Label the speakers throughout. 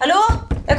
Speaker 1: Hallo? Jeg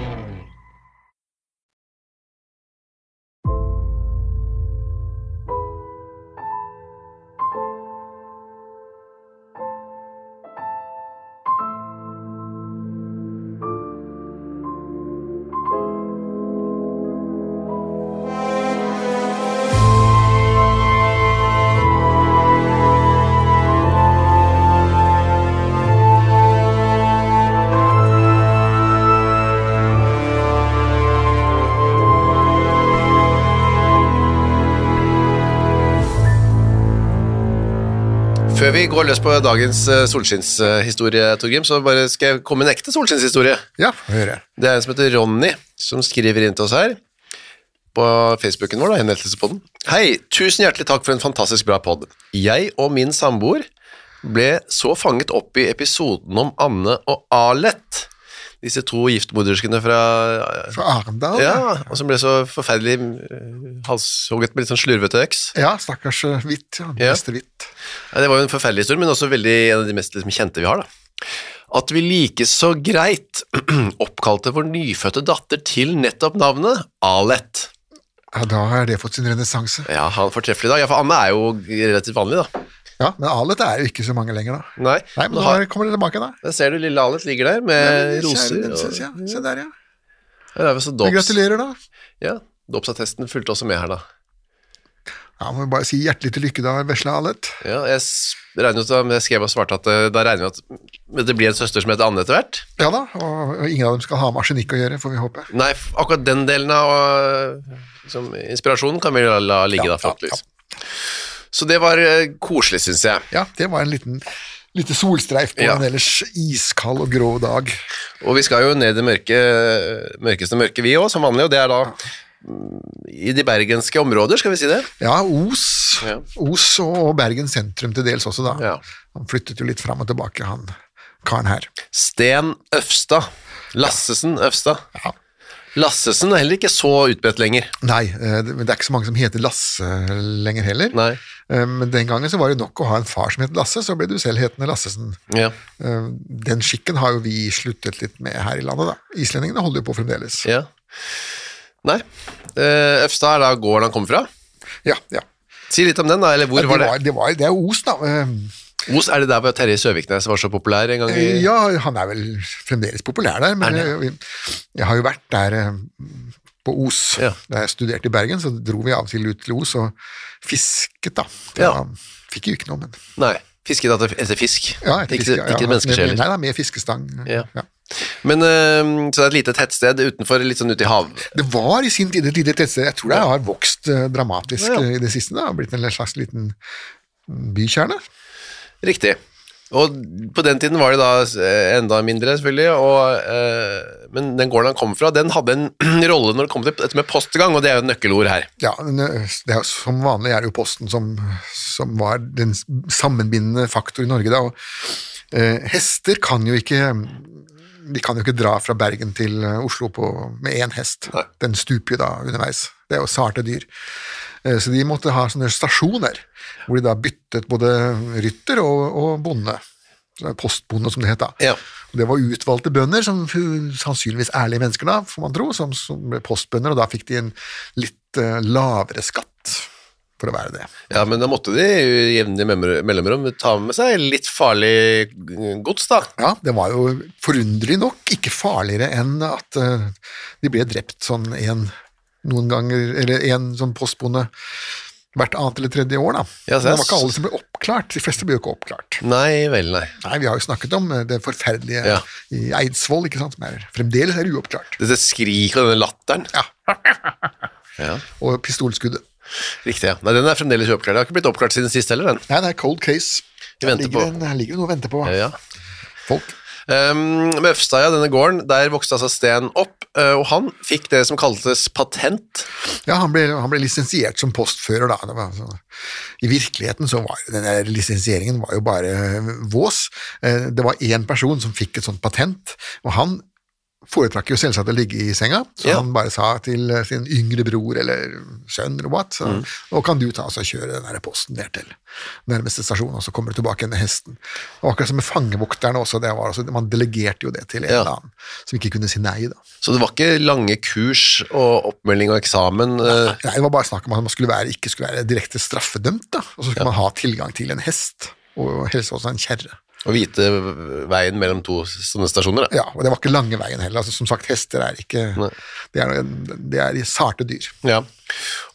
Speaker 2: Før vi går løs på dagens eh, solskinnshistorie, Torgrim, så bare skal jeg komme med en ekte solskinnshistorie.
Speaker 3: Ja, hører jeg.
Speaker 2: Det er en som heter Ronny, som skriver inn til oss her på Facebooken vår, da, henvendelsespodden. Hei, tusen hjertelig takk for en fantastisk bra podd. Jeg og min samboer ble så fanget opp i episoden om Anne og Alet, disse to giftmoderskene fra
Speaker 3: Fra Arendal?
Speaker 2: ja, og som ble så forferdelig eh, halshogget med litt sånn slurvete øks.
Speaker 3: Ja, stakkars eh, Hvitt. Ja.
Speaker 2: Ja.
Speaker 3: Beste Hvitt.
Speaker 2: Ja, det var jo en forferdelig historie, men også veldig en av de mest liksom, kjente vi har. da. At vi like så greit oppkalte vår nyfødte datter til nettopp navnet Alet.
Speaker 3: Ja, da har det fått sin renessanse.
Speaker 2: Ja, han fortreffelig i dag. Ja, for Anne er jo relativt vanlig, da.
Speaker 3: Ja, men Alet er jo ikke så mange lenger, da.
Speaker 2: Nei,
Speaker 3: Nei, men
Speaker 2: men
Speaker 3: nå
Speaker 2: har,
Speaker 3: har- kommer det tilbake, da.
Speaker 2: der ser du lille Alet ligger der med
Speaker 3: Men,
Speaker 2: roser.
Speaker 3: kjære den, se-
Speaker 2: Og,
Speaker 3: se- ja, Se der, ja.
Speaker 2: her er vi så
Speaker 3: Men
Speaker 2: dops.
Speaker 3: gratulerer, da.
Speaker 2: Ja, Dopsattesten fulgte også med her, da.
Speaker 3: Ja, Må vi bare si hjertelig til lykke, da, vesle Alet.
Speaker 2: Ja, jeg s- regner ut, da, men jeg skrev og svarte at eh, da regner vi at det blir en søster som heter Anne etter hvert.
Speaker 3: Ja da, og, og ingen av dem skal ha med arsenikk å gjøre, får vi håpe.
Speaker 2: Nei, f- akkurat den delen av øh, liksom, inspirasjonen kan vi la- la ligge
Speaker 3: Ja,
Speaker 2: da,
Speaker 3: ja,
Speaker 2: forhåpentligvis. Så det var øh, koselig, syns jeg.
Speaker 3: Ja, det var en liten lite solstreif på
Speaker 2: Ja.
Speaker 3: en ellers iskald og grå dag.
Speaker 2: Og vi skal jo ned i det mørke, øh, mørkeste mørke, vi òg, som vanlig, og det er da mm, i de bergenske områder, skal vi si det?
Speaker 3: Ja, Os.
Speaker 2: Ja.
Speaker 3: Os og Bergen sentrum til dels også, da.
Speaker 2: Ja.
Speaker 3: Han flyttet jo litt fram og tilbake, han karen her.
Speaker 2: Sten Øfstad. Lassesen Øfstad.
Speaker 3: Ja.
Speaker 2: Lassesen er heller ikke så utbredt lenger.
Speaker 3: Nei, eh, det men det er ikke så mange som heter Lasse lenger heller.
Speaker 2: Nei.
Speaker 3: Eh, Men den gangen så var det nok å ha en far som het Lasse, så ble du selv hetende Lassesen.
Speaker 2: Ja.
Speaker 3: Eh, Den skikken har jo vi sluttet litt med her i landet, da. Islendingene holder jo på fremdeles.
Speaker 2: ja. Nei. Eh, Øfstad er da gården han kommer fra.
Speaker 3: Ja, ja.
Speaker 2: Si litt om den, da. Eller hvor
Speaker 3: det,
Speaker 2: var det?
Speaker 3: var, det, var, det er Os, da. Eh,
Speaker 2: Os, er det der hvor Terje Søviknes var så populær en gang? i...
Speaker 3: Ja, han er vel fremdeles populær der, men jeg, jeg har jo vært der eh, på Os.
Speaker 2: Ja.
Speaker 3: Da jeg studerte i Bergen, så dro vi av og til ut til Os og fisket, da. Det
Speaker 2: Ja.
Speaker 3: var- Fikk jo ikke noe, men
Speaker 2: Nei, fisket etter, etter fisk.
Speaker 3: ja, etter
Speaker 2: ikke
Speaker 3: fiske- ja,
Speaker 2: ikke menneskesjeler.
Speaker 3: Nei da, med fiskestang.
Speaker 2: Ja.
Speaker 3: Ja.
Speaker 2: Men øhm, Så det er et lite tettsted utenfor, litt sånn ute i havet.
Speaker 3: Det var i sin tid et lite tettsted. Jeg tror det har vokst eh, dramatisk
Speaker 2: Ja, ja.
Speaker 3: eh, i det siste. Det har blitt en slags liten mm, bykjerne.
Speaker 2: Riktig. Og på den tiden var det da eh, enda mindre, selvfølgelig. Og, eh, men den gården han kom fra, den hadde en rolle når det kom til dette med postgang, og det er jo et nøkkelord her.
Speaker 3: Ja, men, eh, det er, jo- Som vanlig er det jo Posten som, som var den s- sammenbindende faktor i Norge. Da. Og, eh, hester kan jo ikke De kan jo ikke dra fra Bergen til eh, Oslo på, med én hest. Den stuper jo da underveis. Det er jo sarte dyr. Eh, så de måtte ha sånne stasjoner hvor de da byttet både rytter og, og bonde. Så Postbonde, som det het da.
Speaker 2: Ja.
Speaker 3: Og Det var utvalgte bønder, som fu- sannsynligvis ærlige mennesker, da, får man tro, som, som ble postbønder, og da fikk de en litt eh, lavere skatt for å være det.
Speaker 2: Ja, men da måtte de jo i jevnlige memmer- mellomrom ta med seg litt farlig eh, gods, da.
Speaker 3: Ja, Det var jo forunderlig nok ikke farligere enn at eh, de ble drept sånn en noen ganger, eller en som postbonde hvert annet eller tredje år. da.
Speaker 2: Ja, så
Speaker 3: det
Speaker 2: jeg
Speaker 3: var ikke
Speaker 2: s-
Speaker 3: alle som ble oppklart. De fleste ble jo ikke oppklart.
Speaker 2: Nei vel, nei.
Speaker 3: Nei, Vi har jo snakket om eh, det forferdelige
Speaker 2: Ja.
Speaker 3: i Eidsvoll, ikke sant, som er, fremdeles er uoppklart.
Speaker 2: Dette skriket og denne latteren.
Speaker 3: Ja,
Speaker 2: Ja,
Speaker 3: Og pistolskuddet.
Speaker 2: Riktig, ja. Nei, den er fremdeles uoppklart. Det har ikke blitt oppklart siden sist heller, den.
Speaker 3: Nei, det er cold case.
Speaker 2: Vi
Speaker 3: Her
Speaker 2: venter
Speaker 3: ligger,
Speaker 2: på-
Speaker 3: en, her ligger det noe å vente på.
Speaker 2: Ja, ja.
Speaker 3: Folk.
Speaker 2: Um, Møfstad, ja, denne gården, der vokste altså Sten opp, eh, og han fikk det som kaltes patent.
Speaker 3: Ja, han ble, han ble lisensiert som postfører, da. Det var sånn. I virkeligheten så var jo den der lisensieringen var jo bare vås. Eh, Det var én person som fikk et sånt patent, og han foretrakk jo selvsagt å ligge i senga, så
Speaker 2: Ja.
Speaker 3: han bare sa til eh, sin yngre bror eller sønn eller what, så,
Speaker 2: Mm.
Speaker 3: nå kan du ta oss og kjøre den der posten ned til nærmeste stasjon, og så kommer du tilbake igjen med hesten. Og akkurat som med fangevokterne også, det var, altså, man delegerte jo det til en
Speaker 2: Ja.
Speaker 3: eller annen som ikke kunne si nei, da.
Speaker 2: Så det var ikke lange kurs og oppmelding og eksamen. eh,
Speaker 3: Nei, det var bare snakk om at man skulle være, ikke skulle være direkte straffedømt, da. og så skulle man ha tilgang til en hest, og helst også en kjerre.
Speaker 2: Å vite veien mellom to sånne stasjoner. Da.
Speaker 3: Ja, og det var ikke lange veien heller. Altså, som sagt, hester er ikke det er, det er sarte dyr.
Speaker 2: Ja.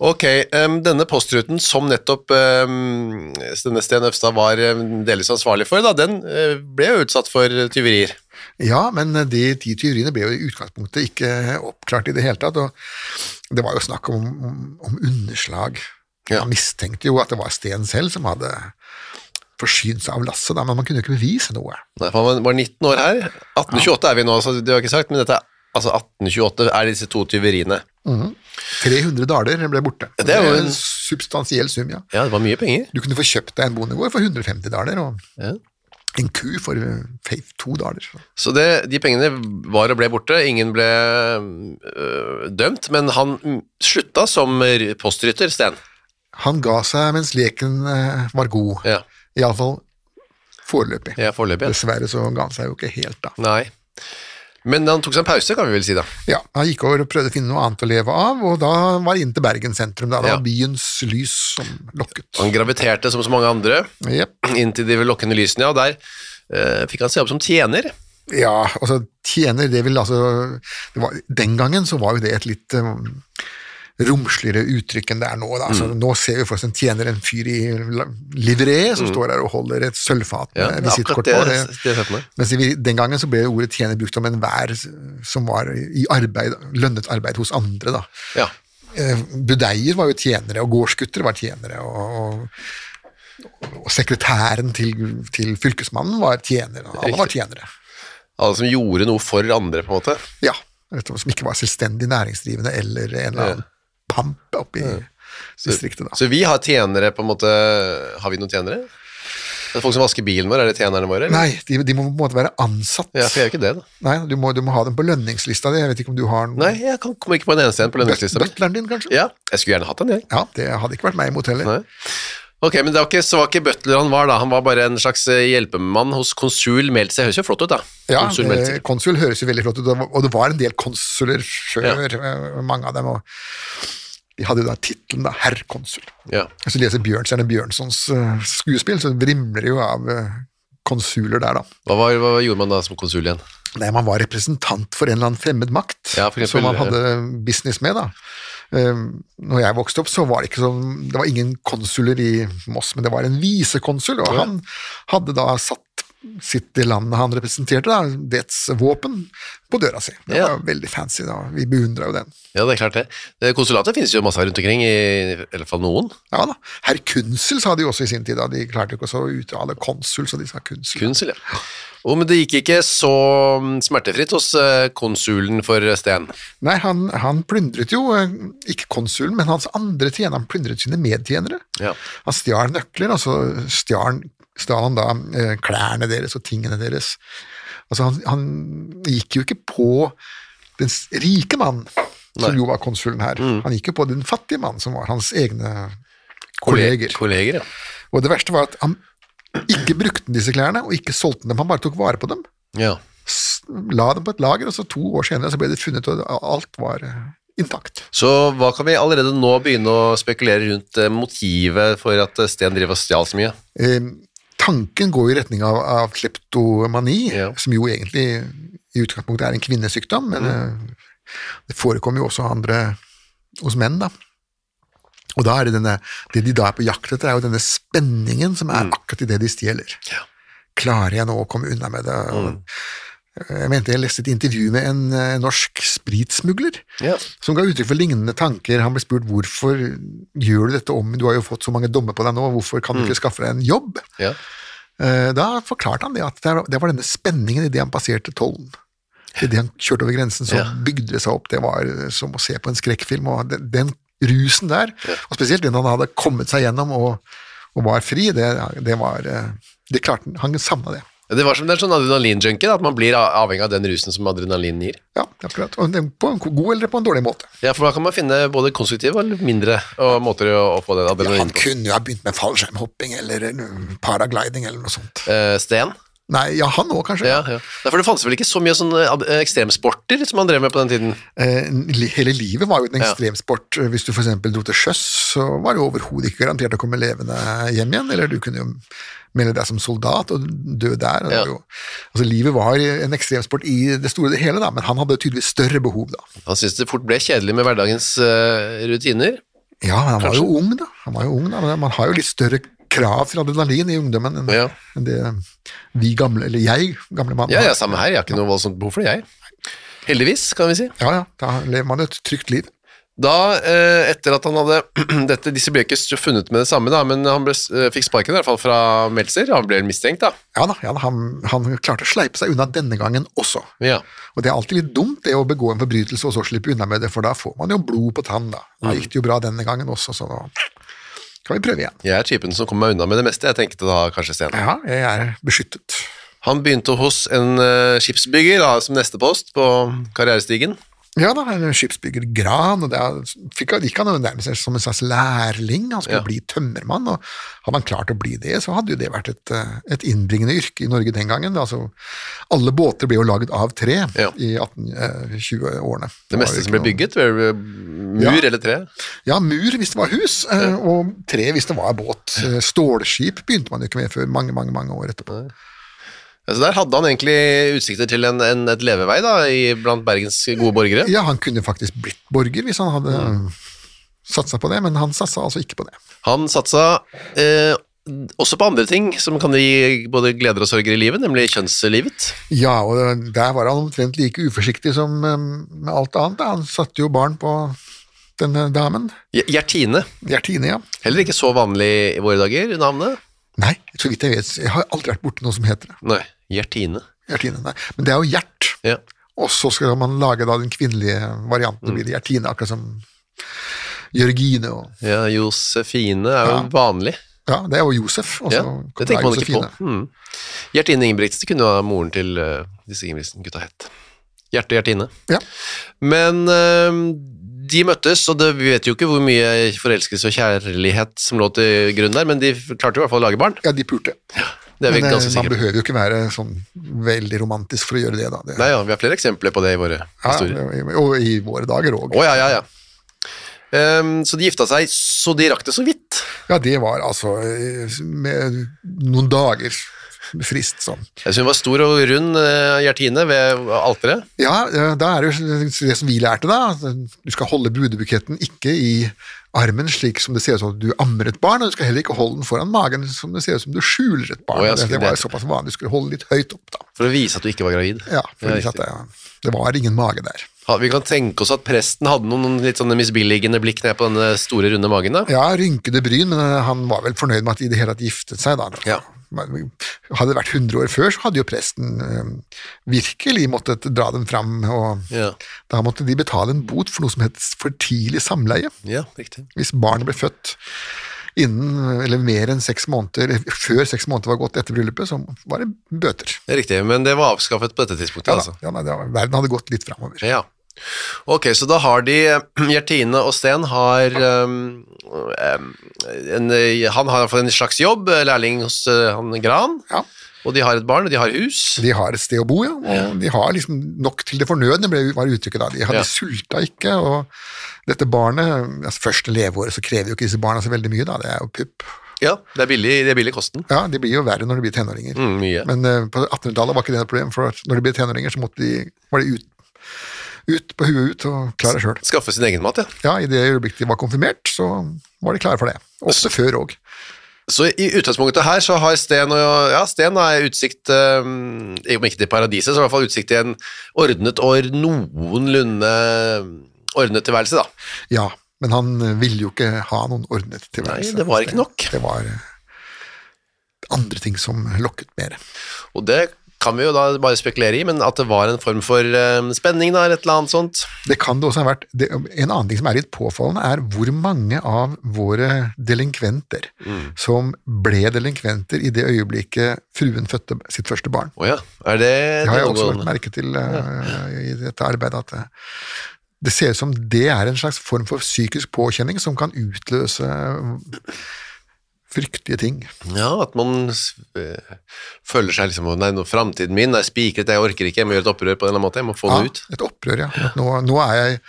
Speaker 2: Ok, em, denne postruten som nettopp em, denne Sten Øfstad var em, delvis ansvarlig for, da, den eh, ble jo utsatt for tyverier.
Speaker 3: Ja, men eh, de ti tyveriene ble jo i utgangspunktet ikke oppklart i det hele tatt, og det var jo snakk om, om, om underslag.
Speaker 2: Ja.
Speaker 3: Man mistenkte jo at det var Sten selv som hadde forsynt seg av lasset, da, men man kunne jo ikke bevise noe.
Speaker 2: Nei, for Han var 19 år her. 1828 er vi nå, så det har jeg ikke sagt, men dette er altså 1828 er disse to tyveriene.
Speaker 3: 300 daler ble borte.
Speaker 2: Ja, det er jo en-
Speaker 3: substansiell sum, ja.
Speaker 2: Ja, det var mye penger.
Speaker 3: Du kunne få kjøpt deg en bondegård for 150 daler, og
Speaker 2: Ja.
Speaker 3: en ku for eh, to daler.
Speaker 2: Så det, de pengene var og ble borte, ingen ble øh, dømt, men han mm, slutta som r- postrytter, Sten.
Speaker 3: Han ga seg mens leken eh, var god,
Speaker 2: Ja,
Speaker 3: iallfall foreløpig.
Speaker 2: ja foreløpig. ja.
Speaker 3: Dessverre så ga han seg jo ikke helt, da.
Speaker 2: Nei. Men han tok seg en pause, kan vi vel si da.
Speaker 3: Ja, Han gikk over og prøvde å finne noe annet å leve av, og da var det inn til Bergen sentrum. Da, da
Speaker 2: Ja.
Speaker 3: var byens lys som lokket.
Speaker 2: Han graviterte som så mange andre
Speaker 3: Jep.
Speaker 2: inn til de lokkende lysene, ja, og der øh, fikk han se opp som tjener.
Speaker 3: Ja, altså tjener, det vil altså det var, Den gangen så var jo det et litt eh, romsligere uttrykk enn det er nå. Da. Altså,
Speaker 2: Mm.
Speaker 3: Nå ser vi for oss en tjener, en fyr i la- livré som står der og holder et sølvfat
Speaker 2: Mm. Ja,
Speaker 3: med
Speaker 2: det er akkurat
Speaker 3: visittkort
Speaker 2: det,
Speaker 3: på.
Speaker 2: det,
Speaker 3: Det,
Speaker 2: jeg ser for meg.
Speaker 3: mens i, den gangen så ble ordet tjener brukt om enhver som var i arbeid, lønnet arbeid hos andre. da.
Speaker 2: Ja.
Speaker 3: Eh, Budeier var jo tjenere, og gårdsgutter var tjenere. og... og og sekretæren til, til fylkesmannen var tjener, og alle var
Speaker 2: Riktig.
Speaker 3: tjenere.
Speaker 2: Alle som gjorde noe for andre, på en måte.
Speaker 3: Ja, rett og slett, som ikke var selvstendig næringsdrivende eller en eller annen pamp oppe i distriktet. da.
Speaker 2: Så vi har tjenere, på en måte Har vi noen tjenere? Det er folk som vasker bilen vår, er det tjenerne våre? eller?
Speaker 3: Nei, de, de må på en måte være ansatt.
Speaker 2: Ja, for jeg gjør ikke det, da.
Speaker 3: Nei, du må, du må ha dem på lønningslista di. Jeg vet ikke om du har noen
Speaker 2: Nei, jeg kan, kommer ikke på en eneste en på lønningslista mi.
Speaker 3: Butleren din, kanskje?
Speaker 2: Ja, jeg skulle gjerne hatt den, jeg.
Speaker 3: Ja, det hadde ikke vært meg imot heller.
Speaker 2: Nei. Ok, men det var ikke, så var ikke butler han var da, han var bare en slags eh, hjelpemann hos konsul Meltzer. Det høres jo flott ut da.
Speaker 3: Ja,
Speaker 2: konsul
Speaker 3: eh,
Speaker 2: Meltzer.
Speaker 3: konsul høres jo veldig flott ut, og det var- og det var en del konsuler før, eh, mange av dem. og De hadde jo da tittelen da, herr konsul.
Speaker 2: Ja.
Speaker 3: Hvis du leser Bjørnstjerne Bjørnsons eh, skuespill, så vrimler det jo av eh, konsuler der, da.
Speaker 2: Hva, var, hva gjorde man da som konsul igjen?
Speaker 3: Nei, man var representant for en eller annen fremmed makt
Speaker 2: Ja, for eksempel-
Speaker 3: som man hadde business med, da. Um, når jeg vokste opp, så var det ikke sånn Det var ingen konsuler i Moss, men det var en visekonsul, og han hadde da satt sitt i landet han representerte, da, dets våpen, på døra si. Det
Speaker 2: Ja.
Speaker 3: var veldig fancy, da. Vi beundra jo den.
Speaker 2: Ja, det er klart det. Eh, Konsulatet finnes jo masse rundt omkring, i, i hvert fall noen.
Speaker 3: Ja da. Herr Kunsel sa de jo også i sin tid, da. De klarte jo ikke å uttale konsul, så de sa kunsel.
Speaker 2: Konsul, ja. Og, men det gikk ikke så mm, smertefritt hos eh, konsulen for Sten.
Speaker 3: Nei, han, han plyndret jo, eh, ikke konsulen, men hans andre tjener, han plyndret sine medtjenere.
Speaker 2: Ja.
Speaker 3: Han stjal nøkler, og så stjal, stjal han da eh, klærne deres og tingene deres. Altså, han, han gikk jo ikke på den s- rike mann, som jo var konsulen her. Han gikk jo på den fattige mann, som var hans egne kolleger.
Speaker 2: Kolleger, ja.
Speaker 3: Og det verste var at han ikke brukte disse klærne, og ikke solgte dem, han bare tok vare på dem.
Speaker 2: Ja,
Speaker 3: S- La dem på et lager, og så to år senere så ble det funnet, og alt var eh, intakt.
Speaker 2: Så hva kan vi allerede nå begynne å spekulere rundt eh, motivet for at eh, Sten driver og stjal så mye?
Speaker 3: Eh, tanken går i retning av, av kleptomani,
Speaker 2: Ja.
Speaker 3: som jo egentlig i utgangspunktet er en kvinnesykdom, men eh, det forekommer jo også andre hos menn, da. Og da er det denne, det de da er på jakt etter, er jo denne spenningen som er akkurat i det de stjeler. Klarer jeg nå å komme unna med det? Og Jeg mente jeg leste et intervju med en eh, norsk spritsmugler
Speaker 2: Ja.
Speaker 3: som ga uttrykk for lignende tanker. Han ble spurt hvorfor gjør du dette om, du har jo fått så mange dommer på deg nå, hvorfor kan du ikke skaffe deg en jobb?
Speaker 2: Ja.
Speaker 3: Eh, Da forklarte han det at det var- det var denne spenningen idet han passerte tollen. Idet han kjørte over grensen, så
Speaker 2: Ja.
Speaker 3: bygde det seg opp. Det var eh, som å se på en skrekkfilm. og Den, den rusen der, og spesielt den han hadde kommet seg gjennom og, og var fri, det, det var eh, Det klarte han. Han savna det.
Speaker 2: Det var som det er sånn adrenalinjunkie, da, at man blir a- avhengig av den rusen som adrenalin gir.
Speaker 3: Ja, det er akkurat. Og det- På en god eller på en dårlig måte.
Speaker 2: Ja, for da kan man finne både konstruktive og mindre og måter å, å få den
Speaker 3: Ja, han
Speaker 2: adrenalinen på.
Speaker 3: kunne jo ha begynt med fallskjermhopping eller eh, paragliding eller noe sånt.
Speaker 2: Eh, Sten?
Speaker 3: Nei, ja, han òg, kanskje.
Speaker 2: Ja, ja. Nei, for det fantes vel ikke så mye sånne ad- eh, ekstremsporter som han drev med på den tiden?
Speaker 3: Eh, li- Hele livet var jo en
Speaker 2: Ja.
Speaker 3: ekstremsport. Eh, Hvis du f.eks. dro til sjøs, så var det jo overhodet ikke garantert å komme levende hjem igjen. Eller du kunne jo melde deg som soldat og dø der. og det
Speaker 2: Ja.
Speaker 3: var Jo, altså, livet var en ekstremsport i det store og det hele, da, men han hadde tydeligvis større behov da.
Speaker 2: Han syntes det fort ble kjedelig med hverdagens eh, rutiner.
Speaker 3: Ja, men han var
Speaker 2: Kanskje.
Speaker 3: jo ung, da. Han var jo ung, da. Men man har jo litt større krav til adrenalin i ungdommen enn
Speaker 2: Ja.
Speaker 3: enn det vi gamle, eller jeg, gamle mann,
Speaker 2: Ja,
Speaker 3: har.
Speaker 2: ja, samme her. Jeg har ikke noe voldsomt behov for det, jeg. Heldigvis, kan vi si.
Speaker 3: ja, ja. Da lever man et trygt liv.
Speaker 2: Da, eh, etter at han hadde dette, Disse ble ikke s- funnet med det samme, da, men han ble, s- eh, fikk sparken i hvert fall fra Meltzer. Han ble mistenkt, da.
Speaker 3: Ja da, ja, da han, han klarte å sleipe seg unna denne gangen også.
Speaker 2: Ja.
Speaker 3: Og det er alltid litt dumt det å begå en forbrytelse og så slippe unna med det, for da får man jo blod på tann, da. Da
Speaker 2: Mm.
Speaker 3: gikk det jo bra denne gangen også, så nå kan vi prøve igjen.
Speaker 2: Jeg er typen som kommer meg unna med det meste, jeg tenkte da kanskje Sten.
Speaker 3: Ja, jeg er beskyttet.
Speaker 2: Han begynte hos en eh, skipsbygger da, som neste post på karrierestigen.
Speaker 3: Ja da, en skipsbygger Gran, og der fikk, han- gikk han jo nærmest som en slags lærling, han skulle
Speaker 2: Ja.
Speaker 3: bli tømmermann, og hadde han klart å bli det, så hadde jo det vært et, eh, et innbringende yrke i Norge den gangen. Altså, alle båter ble jo laget av tre
Speaker 2: Ja.
Speaker 3: i eh, 1820-årene.
Speaker 2: Det meste som ble bygget, var mur
Speaker 3: Ja.
Speaker 2: eller tre.
Speaker 3: Ja, mur hvis det var hus, eh, og tre hvis det var båt. Eh, Stålskip begynte man jo ikke med før mange, mange mange år etterpå.
Speaker 2: Altså der hadde han egentlig utsikter til en, en, et levevei da, i, blant Bergens gode borgere.
Speaker 3: Ja, han kunne faktisk blitt borger hvis han hadde satsa på det, men han satsa altså ikke på det.
Speaker 2: Han satsa eh, også på andre ting som kan gi både gleder og sorger i livet, nemlig kjønnslivet.
Speaker 3: Ja, og eh, der var han omtrent like uforsiktig som eh, med alt annet. da. Han satte jo barn på denne damen.
Speaker 2: Gj- Gjertine.
Speaker 3: Gjertine, ja.
Speaker 2: Heller ikke så vanlig i våre dager, navnet.
Speaker 3: Nei, så vidt jeg vet, jeg har aldri vært borti noe som heter det.
Speaker 2: Nei, Gjertine.
Speaker 3: Gjertine, nei. Men det er jo Gjert.
Speaker 2: Ja.
Speaker 3: Og så skal man lage da den kvinnelige varianten, og blir det Gjertine, akkurat som Jørgine og
Speaker 2: ja, Josefine er jo
Speaker 3: Ja.
Speaker 2: vanlig.
Speaker 3: Ja, det er jo Josef. og så
Speaker 2: Ja,
Speaker 3: kom
Speaker 2: det tenker
Speaker 3: da
Speaker 2: man ikke på.
Speaker 3: Josefine.
Speaker 2: Mm. Gjertine Ingebrigtsen kunne ha moren til eh, disse Ingebrigtsen-gutta hett. Hjerte Gjertine.
Speaker 3: Ja.
Speaker 2: Men eh, de møttes, og det, vi vet jo ikke hvor mye forelskelse og kjærlighet som lå til grunn der, men de klarte jo i hvert fall å lage barn.
Speaker 3: ja, de pulte.
Speaker 2: Det er vi
Speaker 3: Men eh,
Speaker 2: ganske
Speaker 3: man
Speaker 2: sikre på.
Speaker 3: behøver jo ikke være sånn veldig romantisk for å gjøre det, da. Det,
Speaker 2: Nei, ja, vi har flere eksempler på det i våre
Speaker 3: ja,
Speaker 2: historier.
Speaker 3: og- og i våre dager òg.
Speaker 2: Å, ja, ja, ja. Ehm, så de gifta seg, så de rakk det så vidt.
Speaker 3: Ja, det var altså eh, med noen dager frist sånn.
Speaker 2: Jeg synes hun var stor og rund, eh, Gjertine, ved alteret.
Speaker 3: Ja, eh, da er det jo det som vi lærte, da. at Du skal holde brudebuketten ikke i armen slik som det ser ut som du ammer et barn, og du skal heller ikke holde den foran magen som det ser ut som du skjuler et barn.
Speaker 2: Å, ja,
Speaker 3: det,
Speaker 2: skulle
Speaker 3: det var
Speaker 2: det-
Speaker 3: såpass vanlig, du skulle holde litt høyt opp, da.
Speaker 2: For å vise at du ikke var gravid.
Speaker 3: Ja, for
Speaker 2: Ja,
Speaker 3: det, at
Speaker 2: riktig.
Speaker 3: det, det var ingen mage der.
Speaker 2: Ha- Vi kan tenke oss at presten hadde noen litt sånne misbilligende blikk ned på denne store, runde magen. da.
Speaker 3: Ja, rynkede bryn, men eh, han var vel fornøyd med at de i det hele tatt giftet seg, da.
Speaker 2: Ja.
Speaker 3: Men Hadde det vært 100 år før, så hadde jo presten eh, virkelig måttet dra dem fram, og
Speaker 2: Ja.
Speaker 3: da måtte de betale en bot for noe som het for tidlig samleie.
Speaker 2: ja, riktig.
Speaker 3: Hvis barnet ble født innen, eller mer enn seks måneder, eller før seks måneder var gått etter bryllupet, så var det bøter.
Speaker 2: Det er riktig, men det var avskaffet på dette tidspunktet,
Speaker 3: Ja, da,
Speaker 2: altså.
Speaker 3: ja, nei, det var, verden hadde gått litt framover.
Speaker 2: Ja. Ok, så da har de eh, Gjertine og Sten har ehm, ehm, en, eh, Han har i hvert fall en slags jobb, lærling hos eh, han Gran,
Speaker 3: Ja.
Speaker 2: og de har et barn, og de har hus.
Speaker 3: De har et sted å bo, ja. Og de har liksom nok til det fornødne, ble, var uttrykket da. De, har-
Speaker 2: Ja.
Speaker 3: de sulta ikke, og dette barnet altså Første leveåret så krever jo ikke disse barna så veldig mye, da. Det er jo pupp.
Speaker 2: Ja, det er billig, det er billig kosten.
Speaker 3: Ja, de blir jo verre når de blir tenåringer.
Speaker 2: Mm, mye.
Speaker 3: Men eh, på 1800-tallet var ikke det et problem, for at når de ble tenåringer, så måtte de, var de ut, ut på huet ut og klar deg sjøl.
Speaker 2: Skaffe sin egen mat, ja.
Speaker 3: Ja, i det øyeblikket de var konfirmert, så var de klare for det. Ofte før òg.
Speaker 2: Så i utgangspunktet her så har Sten og Ja, Sten har utsikt eh, Om ikke til paradiset, så i hvert fall utsikt til en ordnet og noenlunde eh, ordnet tilværelse, da.
Speaker 3: Ja, men han eh, ville jo ikke ha noen ordnet tilværelse.
Speaker 2: Nei, det var ikke nok.
Speaker 3: Det var eh, andre ting som lokket mer.
Speaker 2: Og det kan vi jo da bare spekulere i, men at det var en form for eh, spenning, da, eller et eller annet sånt.
Speaker 3: Det kan det også ha vært. Det, en annen ting som er litt påfallende, er hvor mange av våre delinkventer
Speaker 2: Mm.
Speaker 3: som ble delinkventer i det øyeblikket fruen fødte sitt første barn.
Speaker 2: Å ja, er det
Speaker 3: Det har jeg også
Speaker 2: noen-
Speaker 3: lagt merke til eh, i dette arbeidet, at eh, det ser ut som det er en slags form for psykisk påkjenning som kan utløse eh, fryktelige ting.
Speaker 2: Ja, at man eh, føler seg liksom Nei, nå, framtiden min er spikret, jeg orker ikke, jeg må gjøre et opprør på en eller annen måte, jeg må få det ut.
Speaker 3: Ja, et opprør, ja. At nå, nå er jeg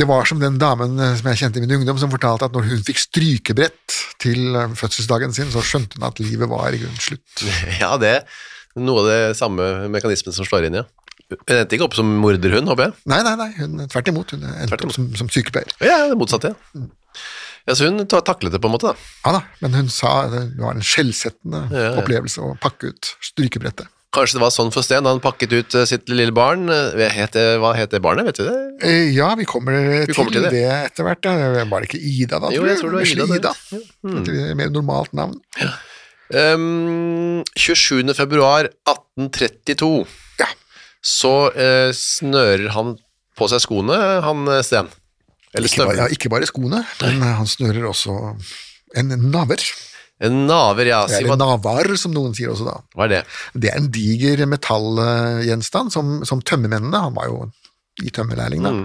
Speaker 3: Det var som den damen eh, som jeg kjente i min ungdom, som fortalte at når hun fikk strykebrett til eh, fødselsdagen sin, så skjønte hun at livet var i grunnen slutt.
Speaker 2: Ja, det er noe av det samme mekanismen som slår inn, ja. Hun endte ikke opp som morderhund, håper jeg.
Speaker 3: Nei, nei, nei, hun, tvert imot. Hun endte opp som, som sykepleier.
Speaker 2: Ja, ja, det motsatte, ja. Ja, så hun ta- taklet det på en måte, da.
Speaker 3: Ja da, men hun sa eh, det var en skjellsettende
Speaker 2: Ja, ja.
Speaker 3: opplevelse å pakke ut strykebrettet.
Speaker 2: Kanskje det var sånn for Sten, da han pakket ut eh, sitt lille barn. Eh, hva het det- hva het det barnet, vet du det?
Speaker 3: Eh, Ja, vi kommer,
Speaker 2: Vi kommer
Speaker 3: til,
Speaker 2: til det.
Speaker 3: det, etter hvert. ja. Var det ikke Ida, da?
Speaker 2: Jo, jeg tror det var
Speaker 3: Vesle
Speaker 2: Ida, Mm. det.
Speaker 3: Ida. Et mer normalt navn.
Speaker 2: Um, 27. februar 1832
Speaker 3: Ja.
Speaker 2: så eh, snører han på seg skoene, han eh, Sten. Eller
Speaker 3: Ikke bare, ja,
Speaker 2: støvler.
Speaker 3: ikke bare skoene, men eh, han snører også en naver.
Speaker 2: En naver, ja. Si,
Speaker 3: Eller
Speaker 2: hva,
Speaker 3: navar, som noen sier også da.
Speaker 2: hva er det?
Speaker 3: Det er en diger metallgjenstand som, som tømmermennene, han var jo i tømmerlærling da,
Speaker 2: Mm.